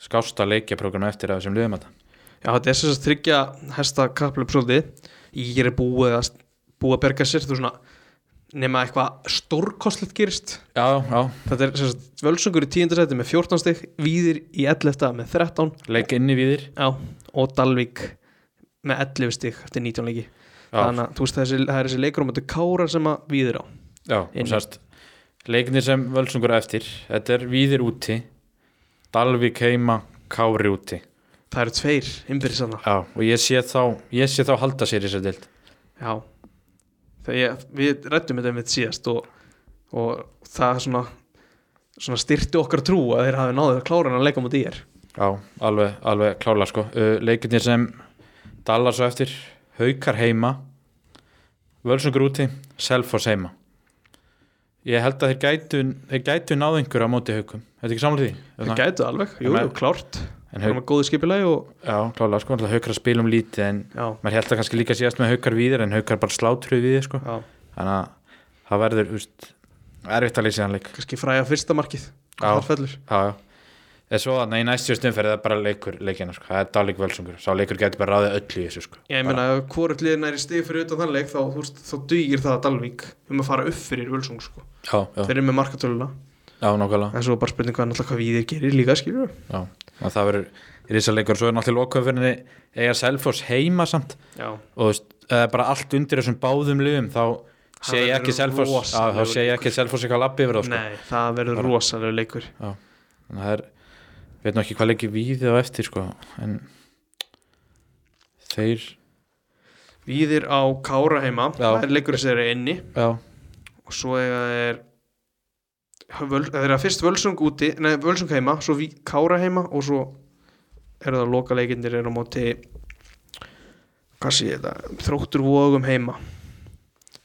Speaker 1: skásta leikjaprógram eftir af þessum liðum að
Speaker 2: Já, þetta er sem sagt þryggja hesta kapplup svolítið Ég er búið að, búið að berga sér Þú svona nema eitthvað stórkostlegt gerist
Speaker 1: Já, já,
Speaker 2: Þetta er sem sagt völsungur í tíundasæti með 14 stig Víðir í 11 með 13
Speaker 1: leik inni við þér
Speaker 2: Já, og Dalvík með 11 stig eftir 19 leiki Þannig að þú veist þessi, það er þessi leikur um þetta kára sem að víðir á
Speaker 1: Já, og
Speaker 2: Inni.
Speaker 1: sérst leikinir sem völsungur á eftir þetta er Víðir úti Dalvík heima, Kári úti
Speaker 2: Það eru tveir innbyrðis þarna
Speaker 1: Já, og ég sé þá, ég sé þá halda sér í þessari deild
Speaker 2: Já Þegar ég, við rættum þetta einmitt síðast og, og það svona, svona styrti okkar trú að þeir hafi náðið að klára hann að leika mútið ég er
Speaker 1: Já, alveg, alveg klála sko uh, Leikirnir sem Dallar svo eftir Haukar heima Völsungur úti, Selfoss heima Ég held að þeir gætu þeir gætu náð einhverju á móti haukum Þetta er ekki samlega því?
Speaker 2: Þeir gætu alveg, jú,
Speaker 1: Nei.
Speaker 2: jú, klárt
Speaker 1: En
Speaker 2: Það er
Speaker 1: hauk,
Speaker 2: með góðu skipilagi og
Speaker 1: já, klála sko, náttúrulega haukar að spila um lítið en
Speaker 2: já,
Speaker 1: maður held að kannski líka síðast með haukar víðir en haukar bara slátruð víðir sko
Speaker 2: já,
Speaker 1: Þannig að það verður, úst, erfitt að lýsa hann leik
Speaker 2: kannski fræja fyrsta markið
Speaker 1: Já.
Speaker 2: Þar fellur
Speaker 1: Já, já. eða svo að í næstu stumferð er bara leikur leikina sko. það er dálik völsungur, sá leikur getur bara ráðið öllu í þessu sko.
Speaker 2: Já, ég meina, ef hvort liðin er í stig fyrir utan þann leik þá, þú veist, þá dugir það að Dalvík um að fara upp fyrir Völsung, sko.
Speaker 1: já, já,
Speaker 2: Þeir eru með markatöluna,
Speaker 1: já, nákvæmlega
Speaker 2: en svo bara spurning hvað náttúrulega hvað við þeir gerir líka, skilur við?
Speaker 1: já. og það verður risa leikur, svo er náttúrulega lokaumferðinni eiga Selfoss heima samt
Speaker 2: Já.
Speaker 1: og þú veist, eða bara allt undir þessum báðum liðum þá sé ég
Speaker 2: verður
Speaker 1: ekki Selfoss já, þá
Speaker 2: rosalegur
Speaker 1: sé ég ekki Selfoss eitthvað lappi yfir þá sko.
Speaker 2: Nei, það verður rosalega leikur.
Speaker 1: Já, þannig að það er við veitum ekki hvað leikir við á eftir sko, en þeir
Speaker 2: Víðir á Kára heima,
Speaker 1: Já.
Speaker 2: það er leikur sem þeir eru inni
Speaker 1: já,
Speaker 2: og svo eiga þeir Völ- þeir eru að fyrst Völsung úti, nei, Völsung heima, svo Ví- Kára heima og svo eru það loka leikindir eru á móti hvað sé ég þetta, þróttur vóðum heima.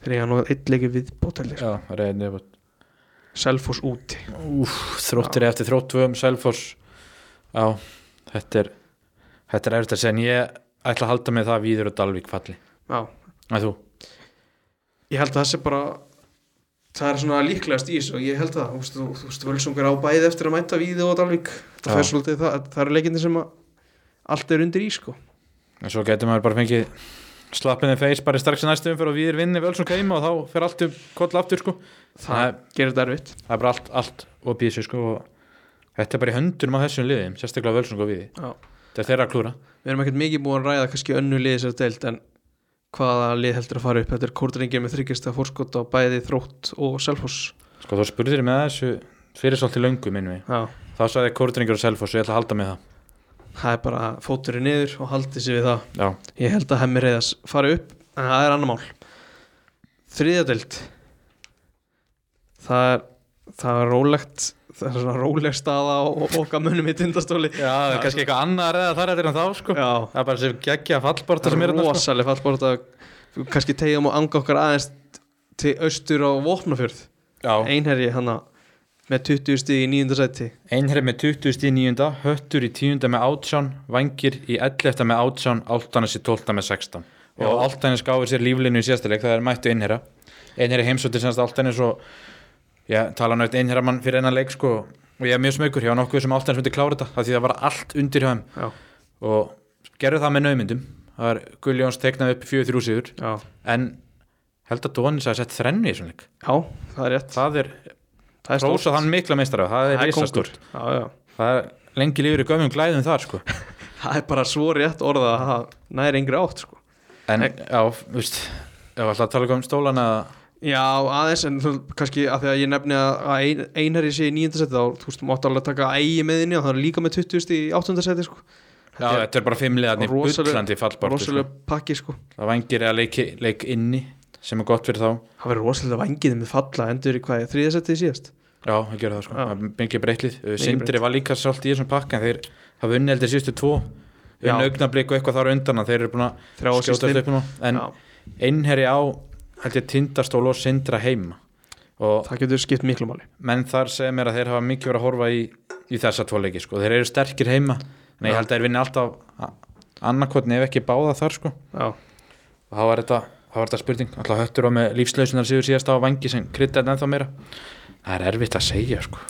Speaker 2: Þeir eiga nú eitt leikir við bótælir.
Speaker 1: já, það er einu
Speaker 2: Selfoss úti
Speaker 1: Úf, þróttir já. eftir þróttvöðum Selfoss já, þetta er þetta er erfitt að segja, en ég ætla að halda með það að Víður og Dalvík falli
Speaker 2: Já,
Speaker 1: að þú,
Speaker 2: ég held að það sé bara það er svona líklegast í þessu og ég held að þú veist, þú, þú veist, völsungur á bæði eftir að mæta Víði og Dalvík
Speaker 1: Já.
Speaker 2: það fer svolítið það, það eru leikindir sem að allt er undir í sko
Speaker 1: en svo getur maður bara fengið slappinni feys bara strax í næstu umferð og Víður vinni vel svo keima og þá fer allt um koll aftur sko
Speaker 2: það
Speaker 1: Það-
Speaker 2: gerir þetta erfitt
Speaker 1: það er bara allt, allt og býðis sko og þetta er bara í höndunum á þessum liðum sérstaklega Völsung og Víði,
Speaker 2: Já.
Speaker 1: þetta er þeirra að klúra
Speaker 2: við erum ekkert mikið búin að ræða kannski önnu liði sér deilt en hvaða lið heldur að fara upp þetta er kórdringir með þryggjast að fórskot á bæði þrótt og selfos
Speaker 1: Sko þú spurðir mig að þessu fyrir svolítið löngu minn við
Speaker 2: Já.
Speaker 1: Þá sagði ég kórdringur og selfoss og ég ætla að halda með það
Speaker 2: það er bara fóturinn niður og haldið sér við það
Speaker 1: Já,
Speaker 2: Ég held að hemmi reyðas fari upp en það er annar mál Þriðjadelt Það er það er rólegt það er svona róleg staða og okkar munum í tindastóli
Speaker 1: Já það er kannski eitthvað annað að reyða þar eftir en þá sko
Speaker 2: Já,
Speaker 1: Það er bara sem geggja fallborta
Speaker 2: það
Speaker 1: sem
Speaker 2: er
Speaker 1: er þarna, sko.
Speaker 2: rosaleg fallbort að kannski tegjum og anga okkar aðeins til austur á Vopnafjörð
Speaker 1: Já,
Speaker 2: Einherji hana með 20 stig í nýjunda sæti
Speaker 1: einherri með 20 stíð nýjunda Höttur í tíunda með 18 Vangir í 11 með 18 Áltanes í 12 með 16 Og Áltanes gáði sér líflinu í sérstileg Það er mættu einherra Einherri heimsótti semst Áltanes og Ég tala nátt einherramann fyrir enn leik sko Og ég er mjög smökur, ég var nokkuð sem Áltanes myndi klára þetta Það því það var allt undir hjá þeim
Speaker 2: Já,
Speaker 1: og gerðu það með naumyndum það er Guðljóns teiknaði upp 4-3 sigur
Speaker 2: já,
Speaker 1: en held að Dónis að sett þrennu í svona leik
Speaker 2: já það er rétt
Speaker 1: það er,
Speaker 2: Það er stórt.
Speaker 1: rósa þann mikla meistara það er
Speaker 2: Það er
Speaker 1: reisastórt
Speaker 2: kóngur. Já, já
Speaker 1: það er lengi lífur í gömum glæðum þar sko.
Speaker 2: Það er bara svo rétt orðað að það næri yngri átt sko.
Speaker 1: en já, veist ég var alltaf að tala um stólana
Speaker 2: Já, aðeins, en þú, kannski að því að ég nefni að- að ein- einherji sé í nýjunda seti þá, þú veist, máttu alveg taka ægi með þinni og það er líka með 20 stig í áttunda seti, sko
Speaker 1: já, þetta er bara fimmlegaðni
Speaker 2: Rosaleg-
Speaker 1: bullandi fallbort
Speaker 2: Rosalega
Speaker 1: sko.
Speaker 2: pakki, sko
Speaker 1: það vangir eða leik, leik inni sem er gott fyrir þá
Speaker 2: Það verður rosalega vangið með falla endur í hvað er þriðja setið síðast
Speaker 1: já, það gerði það sko,
Speaker 2: Já.
Speaker 1: það er mikið breytlið Sindri var líka svolítið í þessum pakka en þeir hafa unni heldur síðustu tvo
Speaker 2: Já.
Speaker 1: unni augnablik og eitthvað þar á undan að þeir eru búin að
Speaker 2: Þrjá á
Speaker 1: skjóta
Speaker 2: síst
Speaker 1: upp nú en
Speaker 2: Já,
Speaker 1: einherri á held ég tindastól og sindra heima og
Speaker 2: það getur skipt miklu máli
Speaker 1: menn þar segja mér að þeir hafa mikið verið að horfa í, í þessa tvo leiki sko, þeir eru sterkir heima en ég
Speaker 2: Já.
Speaker 1: held að þeir vinni alltaf annarkotni ef ekki báða þar sko
Speaker 2: Já,
Speaker 1: og þá var þetta, þá var þetta spurning alltaf höttur á með lífslausunar síður síðast á vangi sem kryddaði ennþá meira það er erfitt að segja sko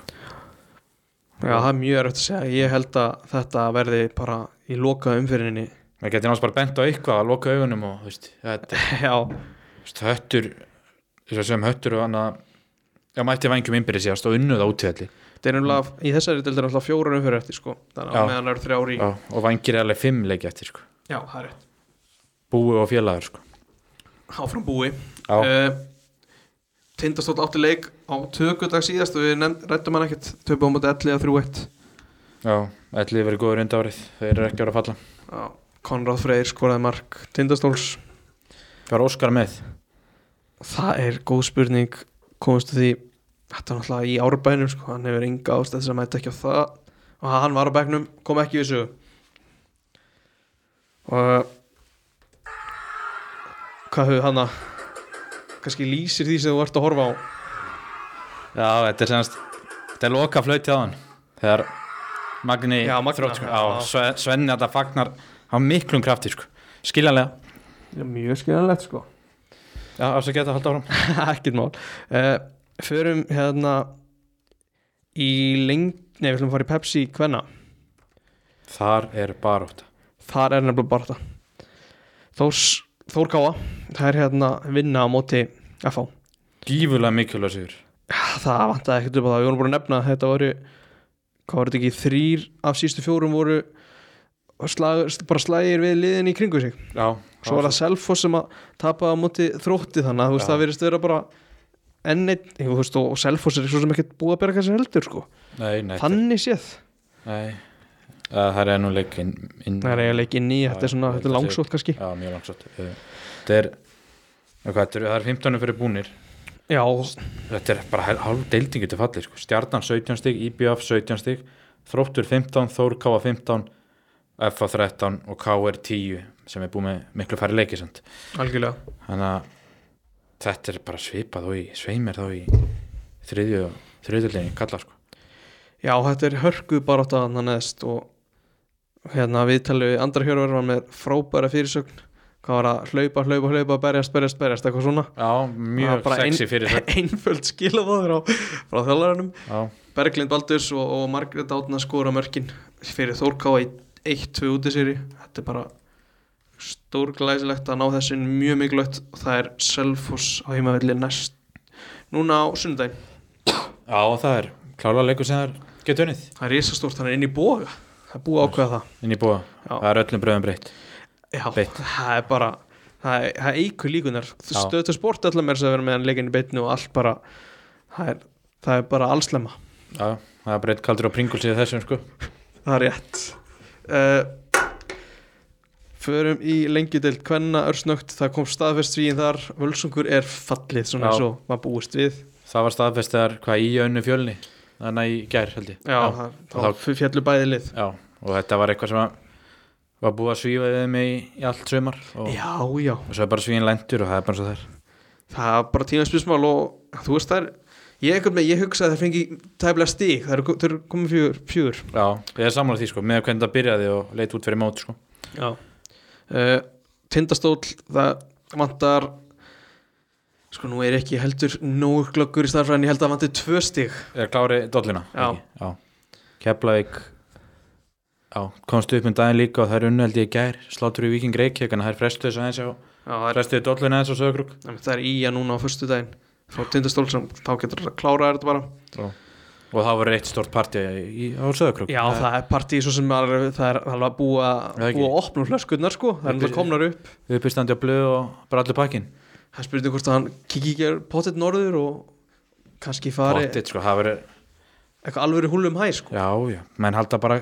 Speaker 2: Já það er mjög erfitt að segja Ég held að þetta verði bara í loka umfyrinni
Speaker 1: það getur náttúrulega bara bent á eitthvað að loka augunum og þú veist, þetta,
Speaker 2: Já,
Speaker 1: þú veist, höttur þess að sem höttur og annað já mætti vangjum innbyrði síðast og unnuð átvöldi
Speaker 2: þetta er nefnilega, í þessari deildi er alltaf fjórar umfyrir eftir, sko Þannig
Speaker 1: Já.
Speaker 2: að meðan það eru þrjár í
Speaker 1: Já, og vangir er alveg fimm leiki eftir sko.
Speaker 2: Já, það er rétt
Speaker 1: búi og félagar sko.
Speaker 2: Áfram búi
Speaker 1: Já.
Speaker 2: uh, Tindastótt átti leik á tökudag síðast og við nefnd, rættum hann ekkert töpu á móti 11 að 3-1
Speaker 1: Já, ætlið verið góður undan árið þeir eru ekki að vera að falla
Speaker 2: Já, Konrad Freyr skoraði mark Tindastóls
Speaker 1: Hvað er Óskar með?
Speaker 2: Það er góð spurning komast að því þetta er náttúrulega í árbænum sko, hann hefur enga ástæð þess að mæta ekki á það og hann var á bæknum, kom ekki við sögu og hvað höfðu hann að kannski lýsir því sem þú ert að horfa á
Speaker 1: Já, þetta er semast þetta er loka flöytið á hann þegar Magni
Speaker 2: Já, Magna,
Speaker 1: sko,
Speaker 2: já.
Speaker 1: á, Sve, Svenni að það fagnar á miklum krafti sko. skiljanlega
Speaker 2: Já, mjög skiljanlegt sko
Speaker 1: Já, þess að geta að halda áfram
Speaker 2: Eh, ekkert mál uh, förum hérna í lengi Nei, við ætlum að fara í Pepsi Kvenna
Speaker 1: Þar er baróta
Speaker 2: Þar er nefnilega bara þetta Þórs, Þór Káa Það er hérna vinna á móti FH
Speaker 1: Gífulega mikilvæg sigur
Speaker 2: Það vantaði ekkert upp á það Við vorum búin að nefna að þetta voru Hvað var þetta ekki? Þrýr af sístu fjórum voru slag, bara slagir við liðin í kringu sig
Speaker 1: Já,
Speaker 2: Svo var það Selfoss sem að tapa á móti þrótti þannig að þú veist
Speaker 1: Já.
Speaker 2: það verðist vera bara enn einn, þú veist og Selfoss er svo sem ekkert búið að berga sér heldur sko
Speaker 1: Nei, nei,
Speaker 2: þannig séð,
Speaker 1: nei. Uh, Það er nú leik inn, inn,
Speaker 2: það er eiginlega ekki ný þetta
Speaker 1: Já,
Speaker 2: er svona,
Speaker 1: ég
Speaker 2: þetta er
Speaker 1: held að
Speaker 2: langsótt kannski
Speaker 1: Já, mjög langsótt Uh, Þetta er, já, hvað, þetta er Það er 15 fyrir búnir
Speaker 2: Já,
Speaker 1: Þetta er bara hel- hálf deildingu til fallið sko. Stjarnan 17 stík, IBF 17 stík Þróttur 15, Þór KF 15 FA 13 og KR 10 sem er búið með miklu færri leiki samt.
Speaker 2: algjörlega
Speaker 1: þannig að þetta er bara svipað og í sveimir þá í þriðju þriðjulegin kalla sko
Speaker 2: Já, þetta er hörku bara átt að hann neðst og hérna við talum við andra hjörvar var með frábæra fyrirsögn hvað var að hlaupa, hlaupa, hlaupa, berjast, berjast, berjast eitthvað svona
Speaker 1: Já,
Speaker 2: Það var
Speaker 1: mjög
Speaker 2: bara ein-
Speaker 1: sexy fyrir þetta
Speaker 2: einföld skilafóður á frá þjálfaranum
Speaker 1: Já,
Speaker 2: Berglind Baldurs og, og Margrét Átna skora mörkin fyrir Þórká í 1-2 útisýri þetta er bara stórglæsilegt að ná þessin mjög mikilvægt og það er Selfoss á heimavelli næst núna á sundaginn
Speaker 1: Já og það er klála leikur sem það er getur unnið
Speaker 2: það er risastórt, hann er inn í boga það er búið að ákveða það
Speaker 1: inn í búa,
Speaker 2: Já.
Speaker 1: það er öllum bröðum breytt
Speaker 2: Já,
Speaker 1: Beitt.
Speaker 2: það er bara það, er- það eikur líkunar
Speaker 1: Já.
Speaker 2: stöðu sport allar mér sem verður með hann leikinn í beitinu og allt bara það er, það er bara allslema
Speaker 1: Já, það er breytt kaldur á pringul síðan þessum sko
Speaker 2: Það er rétt uh, Förum í lengjudeld Hvenna örsnögt, það kom staðfest svíin þar Völsungur er fallið Svona
Speaker 1: Já.
Speaker 2: eins og maður búist við
Speaker 1: Það var staðfest þegar hvað í önnu fjölni þannig í gær held ég
Speaker 2: Já, það, þá
Speaker 1: og
Speaker 2: fjallu bæði lið
Speaker 1: Já, og þetta var eitthvað sem að var búið að svífa við mig í, í allt sömar og,
Speaker 2: Já, já,
Speaker 1: og svo er bara svíin lendur og það er bara svo þær
Speaker 2: það er bara tímanspismál og þú veist það er Ég, einhvern veginn- ég hugsa að það fengi tæflega stík það eru, það eru komið fjögur, fjögur.
Speaker 1: Já, ég er sammála því sko, með hvernig það byrjaði og leit út fyrir mót sko
Speaker 2: Já uh, Tindastóll, það vantar sko nú er ekki heldur nógu glöggur í starfræðin ég held að það vanti tvö stík
Speaker 1: Er klári dollina?
Speaker 2: Já.
Speaker 1: Ekki? já. Keflavík Já, komst upp um daginn líka og það er unnveldi í gær slátur í viking reikja, þannig að það er frestuð þess aðeins á
Speaker 2: Já, það er
Speaker 1: frestuð dollina aðeins á sögurúk
Speaker 2: Nei, það er í að núna á förstu daginn frá tindastól sem þá getur það að klára þetta bara
Speaker 1: og það var eitt stort partí í, á sögurúk
Speaker 2: Já, það, er partí svo sem maður, það er alveg að búa
Speaker 1: Það er ekki.
Speaker 2: búa að opna flöskunnar sko,
Speaker 1: Þetta
Speaker 2: það er
Speaker 1: er-
Speaker 2: náttúrulega komnar upp
Speaker 1: uppistandi á blöð og bara allur pakkin
Speaker 2: það spurði hvort að hann kikið ekki er pottet norður og kannski fari
Speaker 1: Pottit sko, það verið
Speaker 2: eitthvað alvöru húlum hæ sko
Speaker 1: Já, já, menn halda bara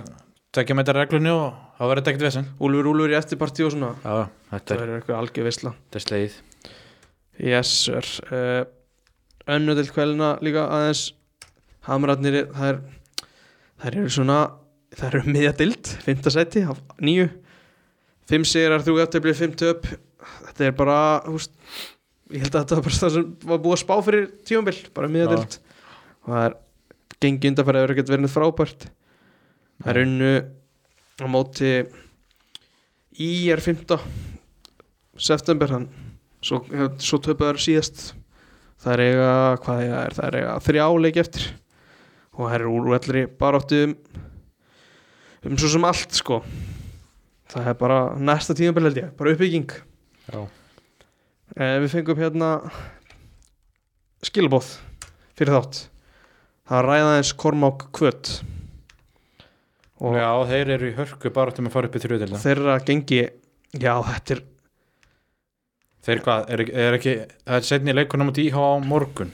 Speaker 1: tekja með þetta reglunni og það verið ekkert vesen
Speaker 2: Úlfur Úlfur í eftirpartí og svona
Speaker 1: Já, já, þetta
Speaker 2: það
Speaker 1: er,
Speaker 2: verður eitthvað algjör veisla
Speaker 1: þetta er slegið
Speaker 2: Yes sir uh, Önnu til kvelina líka aðeins Hamrarnir, er- það er það eru svona, það eru um miðja dild fymta seti af nýju fimm sigrar, þrjú aftöfli, fimm töp þetta er bara húst, ég held að þetta var bara það sem var búið að spá fyrir tíumbil, bara miðja
Speaker 1: Já.
Speaker 2: dild og það er gengi undanfæri að vera ekkert verið neitt frábært það er unnu á móti í er 5. september hann svo, svo töpuðar síðast það er eiga, hvað eiga er, það er eiga þrjáleik eftir og það er úr vellri baráttu um um svo sem allt sko það er bara næsta tíðanbel held ég bara uppbygging
Speaker 1: Já,
Speaker 2: Eh, Við fengum hérna skilabóð fyrir þátt Það ræða eins Kormák Kvöt og
Speaker 1: já þeir eru í hörku bara til að fara upp í þrjóðilna
Speaker 2: þeirra gengi Já, þetta er
Speaker 1: Þeir hvað, er, er ekki, það er setni leikunum út íhá á morgun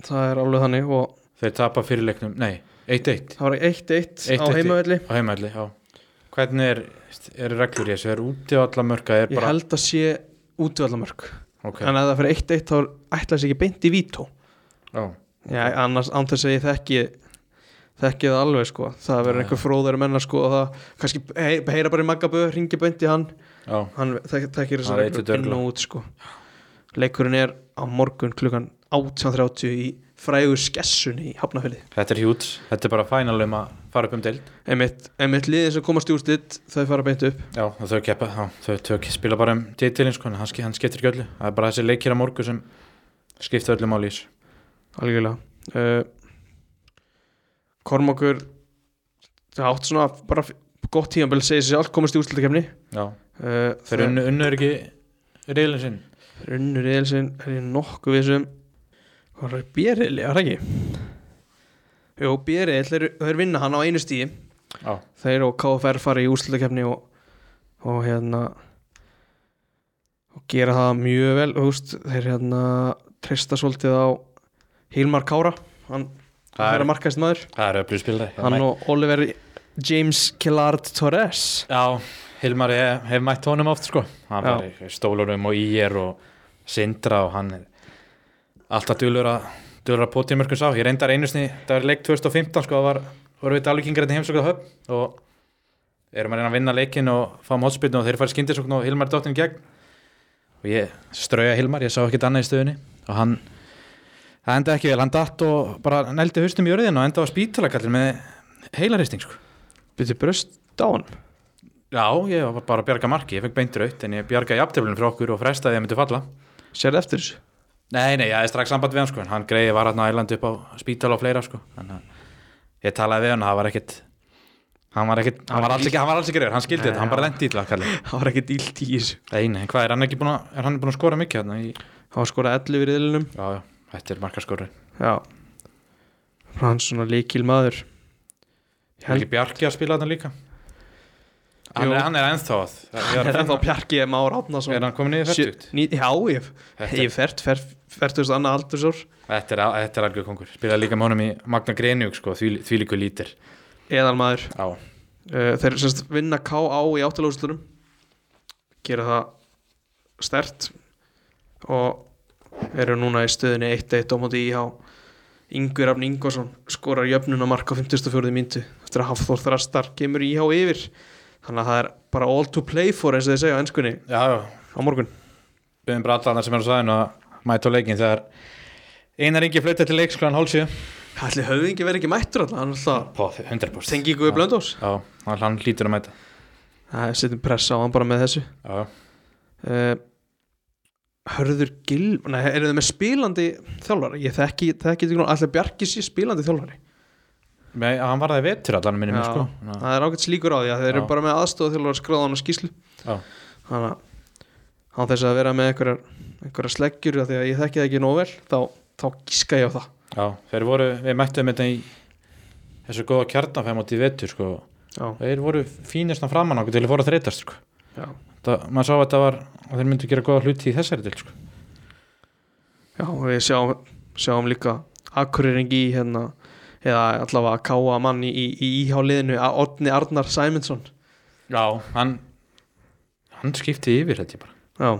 Speaker 2: það er alveg þannig og
Speaker 1: Þeir tapa fyrir leiknum, nei, 1-1
Speaker 2: það var 1-1 á
Speaker 1: 1-1.
Speaker 2: heimavelli
Speaker 1: á heimaðli, já Hvernig er, er reglur í þessu, er úti á alla mörka er
Speaker 2: Ég
Speaker 1: bara,
Speaker 2: held að sé útvallamörk
Speaker 1: ok,
Speaker 2: en ef það fyrir 1-1 þá ætla þessi ekki beint í vító
Speaker 1: já
Speaker 2: Já, annars án þess að ég þekki þekki það alveg sko það verður
Speaker 1: Já,
Speaker 2: einhver fróðari menna sko og það kannski hey, heyra bara í Magabö, ringi beint í hann
Speaker 1: Já,
Speaker 2: hann þek- þekkir þessar
Speaker 1: Hann veit þetta
Speaker 2: reglur inn
Speaker 1: örugglega.
Speaker 2: og út sko. leikurinn er á morgun klukkan 18.30 í frægur skessunni í Hafnafili
Speaker 1: þetta er hjút, þetta er bara fænal um að fara upp um deild
Speaker 2: einmitt, einmitt liðin sem komast í úrslit þau fara beint upp
Speaker 1: Já, og þau keppa, já, þau, þau spila bara um titilin, sko, en hann, ski- hann skiptir ekki öllu Það er bara þessi leikir á morgun sem skipta öllu máli í þessu
Speaker 2: algjörlega uh, Kormokur það átt svona bara f- gott tíðanbel segir sér allt komast í úrslutakefni
Speaker 1: já,
Speaker 2: uh,
Speaker 1: þeir unnu, unnu er ekki reilin sinn
Speaker 2: Runnur Eilsson er ég nokkuð við sem hvað er B-reili, er það ekki? Jó, B-reil, þeir, þeir vinna hann á einu stíi
Speaker 1: já,
Speaker 2: þeir og KFR fara í úrslutakefni og, og hérna og gera það mjög vel þú veist, þeir hérna treysta svolítið á Hilmar Kára hann
Speaker 1: Það
Speaker 2: er
Speaker 1: er-
Speaker 2: að markaðist maður
Speaker 1: það er hérna. öflug spilari
Speaker 2: hann og Oliver James Killard Torres
Speaker 1: Já, Hilmar hef, hef mætt honum oft sko hann
Speaker 2: Já.
Speaker 1: var í stólunum og í er og sindra og hann er alltaf dölur að dölur að potið mörgum sá, ég reyndar einu sinni það var leik 2015 sko, það var voru við dalvíkingar þetta heimsökuð höfn og erum að reyna að vinna leikinn og fáum hotspilnu og þeir farið skyndisókn og Hilmar dottin gegn og ég strauja Hilmar, ég sá ekkert annað í stöðunni og hann, það enda ekki vel hann datt og bara nældi haustum í jörðin og enda á spítalakallin með heilaristing sko
Speaker 2: byrju bröst á hann
Speaker 1: Já, ég var bara að bjarga marki, ég fekk beint raut en ég bjargaði jafntöflunum frá okkur og frestaði að ég myndi falla
Speaker 2: sérðu eftir þessu
Speaker 1: Nei, nei, ég hafði strax samband við hann sko en hann greiði var hann á ælandi upp á spítal og fleira sko Þannig að ég talaði við hann og það var ekkit hann var ekkit, hann var alls ekki, hann var alls ekki rauður hann skildi þetta, hann bara lendi ítla kalli
Speaker 2: það var ekki dílt í þessu
Speaker 1: Nei, nei, hvað er hann ekki búin að, er hann búin að skora mikið hann? Í...
Speaker 2: hann var skorað 11 í riðlinum
Speaker 1: Já, já, þetta er markaskorur
Speaker 2: já hann svona líkil maður
Speaker 1: Er ekki Bjarki að spila þetta líka? Hann
Speaker 2: Jú.
Speaker 1: er, hann er ennþá að, ég
Speaker 2: Það
Speaker 1: var
Speaker 2: er
Speaker 1: að
Speaker 2: ennþá
Speaker 1: finna-
Speaker 2: Bjarki Már Átnason
Speaker 1: er hann komin niður
Speaker 2: Sjö-
Speaker 1: fært
Speaker 2: ní- Já, ég
Speaker 1: Þetta-
Speaker 2: ég er fært færtust annað aldursór
Speaker 1: Þetta er, þetta er algjör kongur, spilaði líka með honum í Magna Grenjúk sko, því, því líku lítir
Speaker 2: eðalmaður
Speaker 1: Já,
Speaker 2: uh, þeir semst vinna K.A. í áttalóðslurum gera það stert og eru núna í stöðinni 1-1 á móti íhá Ingur Afn Ingvarsson skorar jöfnuna mark á 54. myndu eftir að Hafþór Þrastar kemur íhá yfir þannig að það er bara all to play for eins og þeir segja á ennskunni
Speaker 1: já, já,
Speaker 2: á morgun
Speaker 1: byrjum bara allan sem er á sæðinu að mæta á leikin þegar Einar Ingi flauta til leiks kláðan hálsíu
Speaker 2: Ætli höfðingi verið ekki mættur alltaf hann alltaf
Speaker 1: Pá, 100%
Speaker 2: tengi ykkur við blöndós
Speaker 1: Já, hann- hann hlýtur að mæta
Speaker 2: Það er setjum pressa á hann bara með þessu
Speaker 1: Já, já.
Speaker 2: uh, Hörður Gil Nei, eru þau með spilandi þjálfari? Ég þekki, þekki þetta ekki Alltaf Bjarki sé spilandi þjálfari
Speaker 1: Nei, hann var það í vetur allan minni mér sko Ná,
Speaker 2: Það er ágætt slíkur á því að þeir eru
Speaker 1: Já.
Speaker 2: bara með aðstofa þjálfari skráðan og skýslu
Speaker 1: Já,
Speaker 2: Þannig að á þess að vera með einhverjar, einhverjar sleggjur af Því að ég þekki það ekki nóg vel Þá, þá gíska ég á það
Speaker 1: já, þeir voru, við mættum þetta í þessu góða kjarnafæm átt í vetur sko
Speaker 2: Já,
Speaker 1: Þeir voru fínirna framan okkur til að fóra að þreytast sko
Speaker 2: já,
Speaker 1: Það, maður sá að þetta var, að þeir myndu gera góða hluti í þessari til sko
Speaker 2: já og Við sjáum, sjáum líka Akureyringi í hérna eða allavega káa mann í, í, í íháliðinu Otni Arnar Sæmundsson
Speaker 1: Já, hann, hann skipti yfir þetta bara
Speaker 2: Já,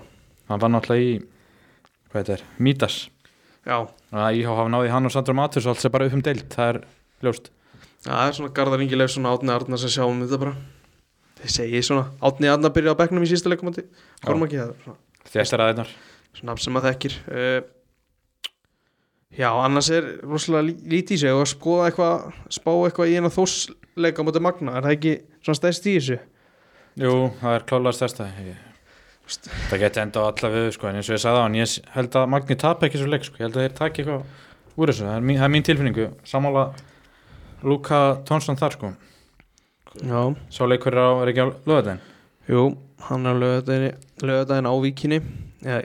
Speaker 1: Hann var náttúrulega í, hvað þetta er, Mítas
Speaker 2: já,
Speaker 1: að IH hafa náði hann og Sandra Matus alls er bara upp um deilt, það er ljóst
Speaker 2: Já, það er svona Garðar Ingi Leifsson og Átni Arnar sem sjáum þetta bara Þeir segi svona, Átni Arnar byrjaði á bekknum í sísta leikumandi Kormaki, það er svona,
Speaker 1: þessar aðeinar
Speaker 2: svona nafn sem maður þekkir uh, Já, annars er rosalega lí- lítið í sig og að skoða eitthvað, spá eitthvað í eina þósleika mútið Magna, er það ekki svona stæst í þessu?
Speaker 1: Jú, það er klálega stærsta Ég- það geti enda á alla við sko, en eins og ég sagði á hann, ég s- held að Magni tap ekki svo leik, sko. ég held að þeir taki eitthvað úr þessu, það er mín, það er mín tilfinningu sammála Luka Tónsson þar sko,
Speaker 2: Já,
Speaker 1: svo leikur er á er ekki á löðin,
Speaker 2: jú, hann er lögadaginn á Víkinni eða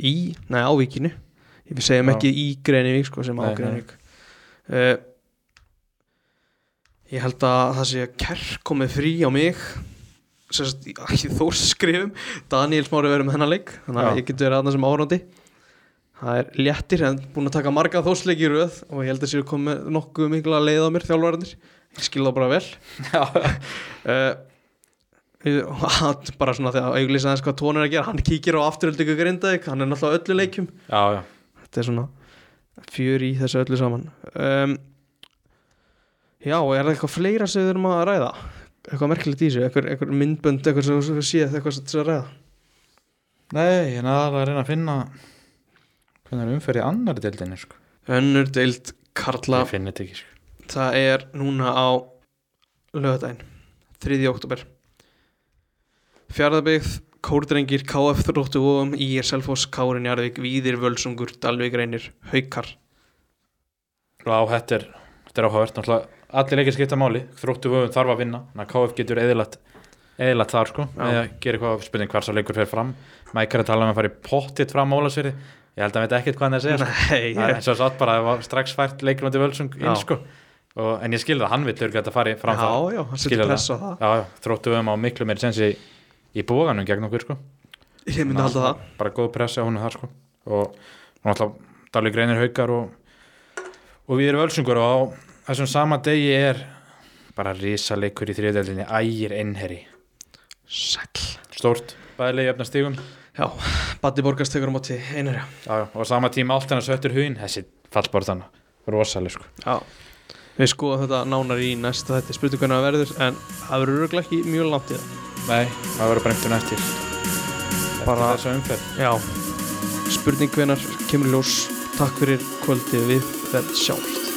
Speaker 2: í, nei á Víkinni við
Speaker 1: Já.
Speaker 2: segjum um ekki í Greinivík sko, sem á
Speaker 1: Nei, nei.
Speaker 2: Greinivík uh, ég held að það sé kerkomið frí á mig sérst, ekki þórskrifum Daniel Smári verður með hennar leik þannig
Speaker 1: Já.
Speaker 2: að ég getur verið aðna sem áhróndi það er léttir en búin að taka marga þórsleik í röð og ég held að séu komið nokkuð mikla leið á mér þjálfverðinir ég skil það bara vel uh, hann bara svona þegar auglýsa aðeins hvað tónur er að gera hann kíkir á afturöldingu grindaðik hann er náttúrulega á öllu leikjum
Speaker 1: já, já,
Speaker 2: þetta er svona fjör í þessu öllu saman um, já, og er það eitthvað fleira sem við erum að ræða eitthvað merkilegt í þessu, eitthvað, eitthvað myndbönd eitthvað sem við séð, eitthvað sem sem að ræða
Speaker 1: nei, ég er aðalega að reyna að finna hvernig er umferð í annari deildinni sko.
Speaker 2: önnur deild Karla
Speaker 1: ég finn þetta ekki sko.
Speaker 2: það er núna á lögadaginn, 3. oktober fjárðabegð Kórdrengir, KF Þróttu Vóum, IR Selfoss, Kárin Jarðvík, Víðir Völsungur, Dalvík Reynir, Haukar
Speaker 1: Já, þetta er, þetta er áhugavert náttúrulega allir leikir skipta máli þróttu vöfum þarf að vinna þannig að KF getur eðilat eðilat þar sko eða gera eitthvað spurning hvar svo leikur fer fram Mækar að tala um að fara í pottitt fram Ólasverði ég held að hann veit ekkert hvað hann er að segja sko.
Speaker 2: Nei,
Speaker 1: Það er
Speaker 2: ég,
Speaker 1: eins og satt bara að það var strax fært leiklandi völsung inn
Speaker 2: Já.
Speaker 1: sko og, en ég skilði að hann vill örgætt að fara í- fram
Speaker 2: Já,
Speaker 1: þar.
Speaker 2: já, hann setur
Speaker 1: Skilur
Speaker 2: pressu á það.
Speaker 1: já, já, þróttu vöfum á miklu meiri sensi í, í bóganum gegn okkur sko
Speaker 2: ég myndi halda það
Speaker 1: bara góð pressa hún er þar sko og hún alltaf Dalí Greinir haukar og, og við erum völsungur og á þessum sama degi er bara risaleikur í þriðdeldinni ægir innherri,
Speaker 2: Sæll
Speaker 1: stórt bæðilegi öfna stígum
Speaker 2: Já, Batti Borgars tekur á móti einari
Speaker 1: Já, já, og á sama tíma allt hennar söttur hugin þessi fallborðan, rosaleg sko
Speaker 2: Já Við skoðum þetta nánar í næsta þetta spurning hvernig það verður en það verður örugglega ekki mjög langt í það
Speaker 1: nei, það verður bara einhvern eftir bara
Speaker 2: Bara-
Speaker 1: þessu umferð
Speaker 2: Já Spurning hvernig kemur í ljós Takk fyrir kvöldið við verð sjálft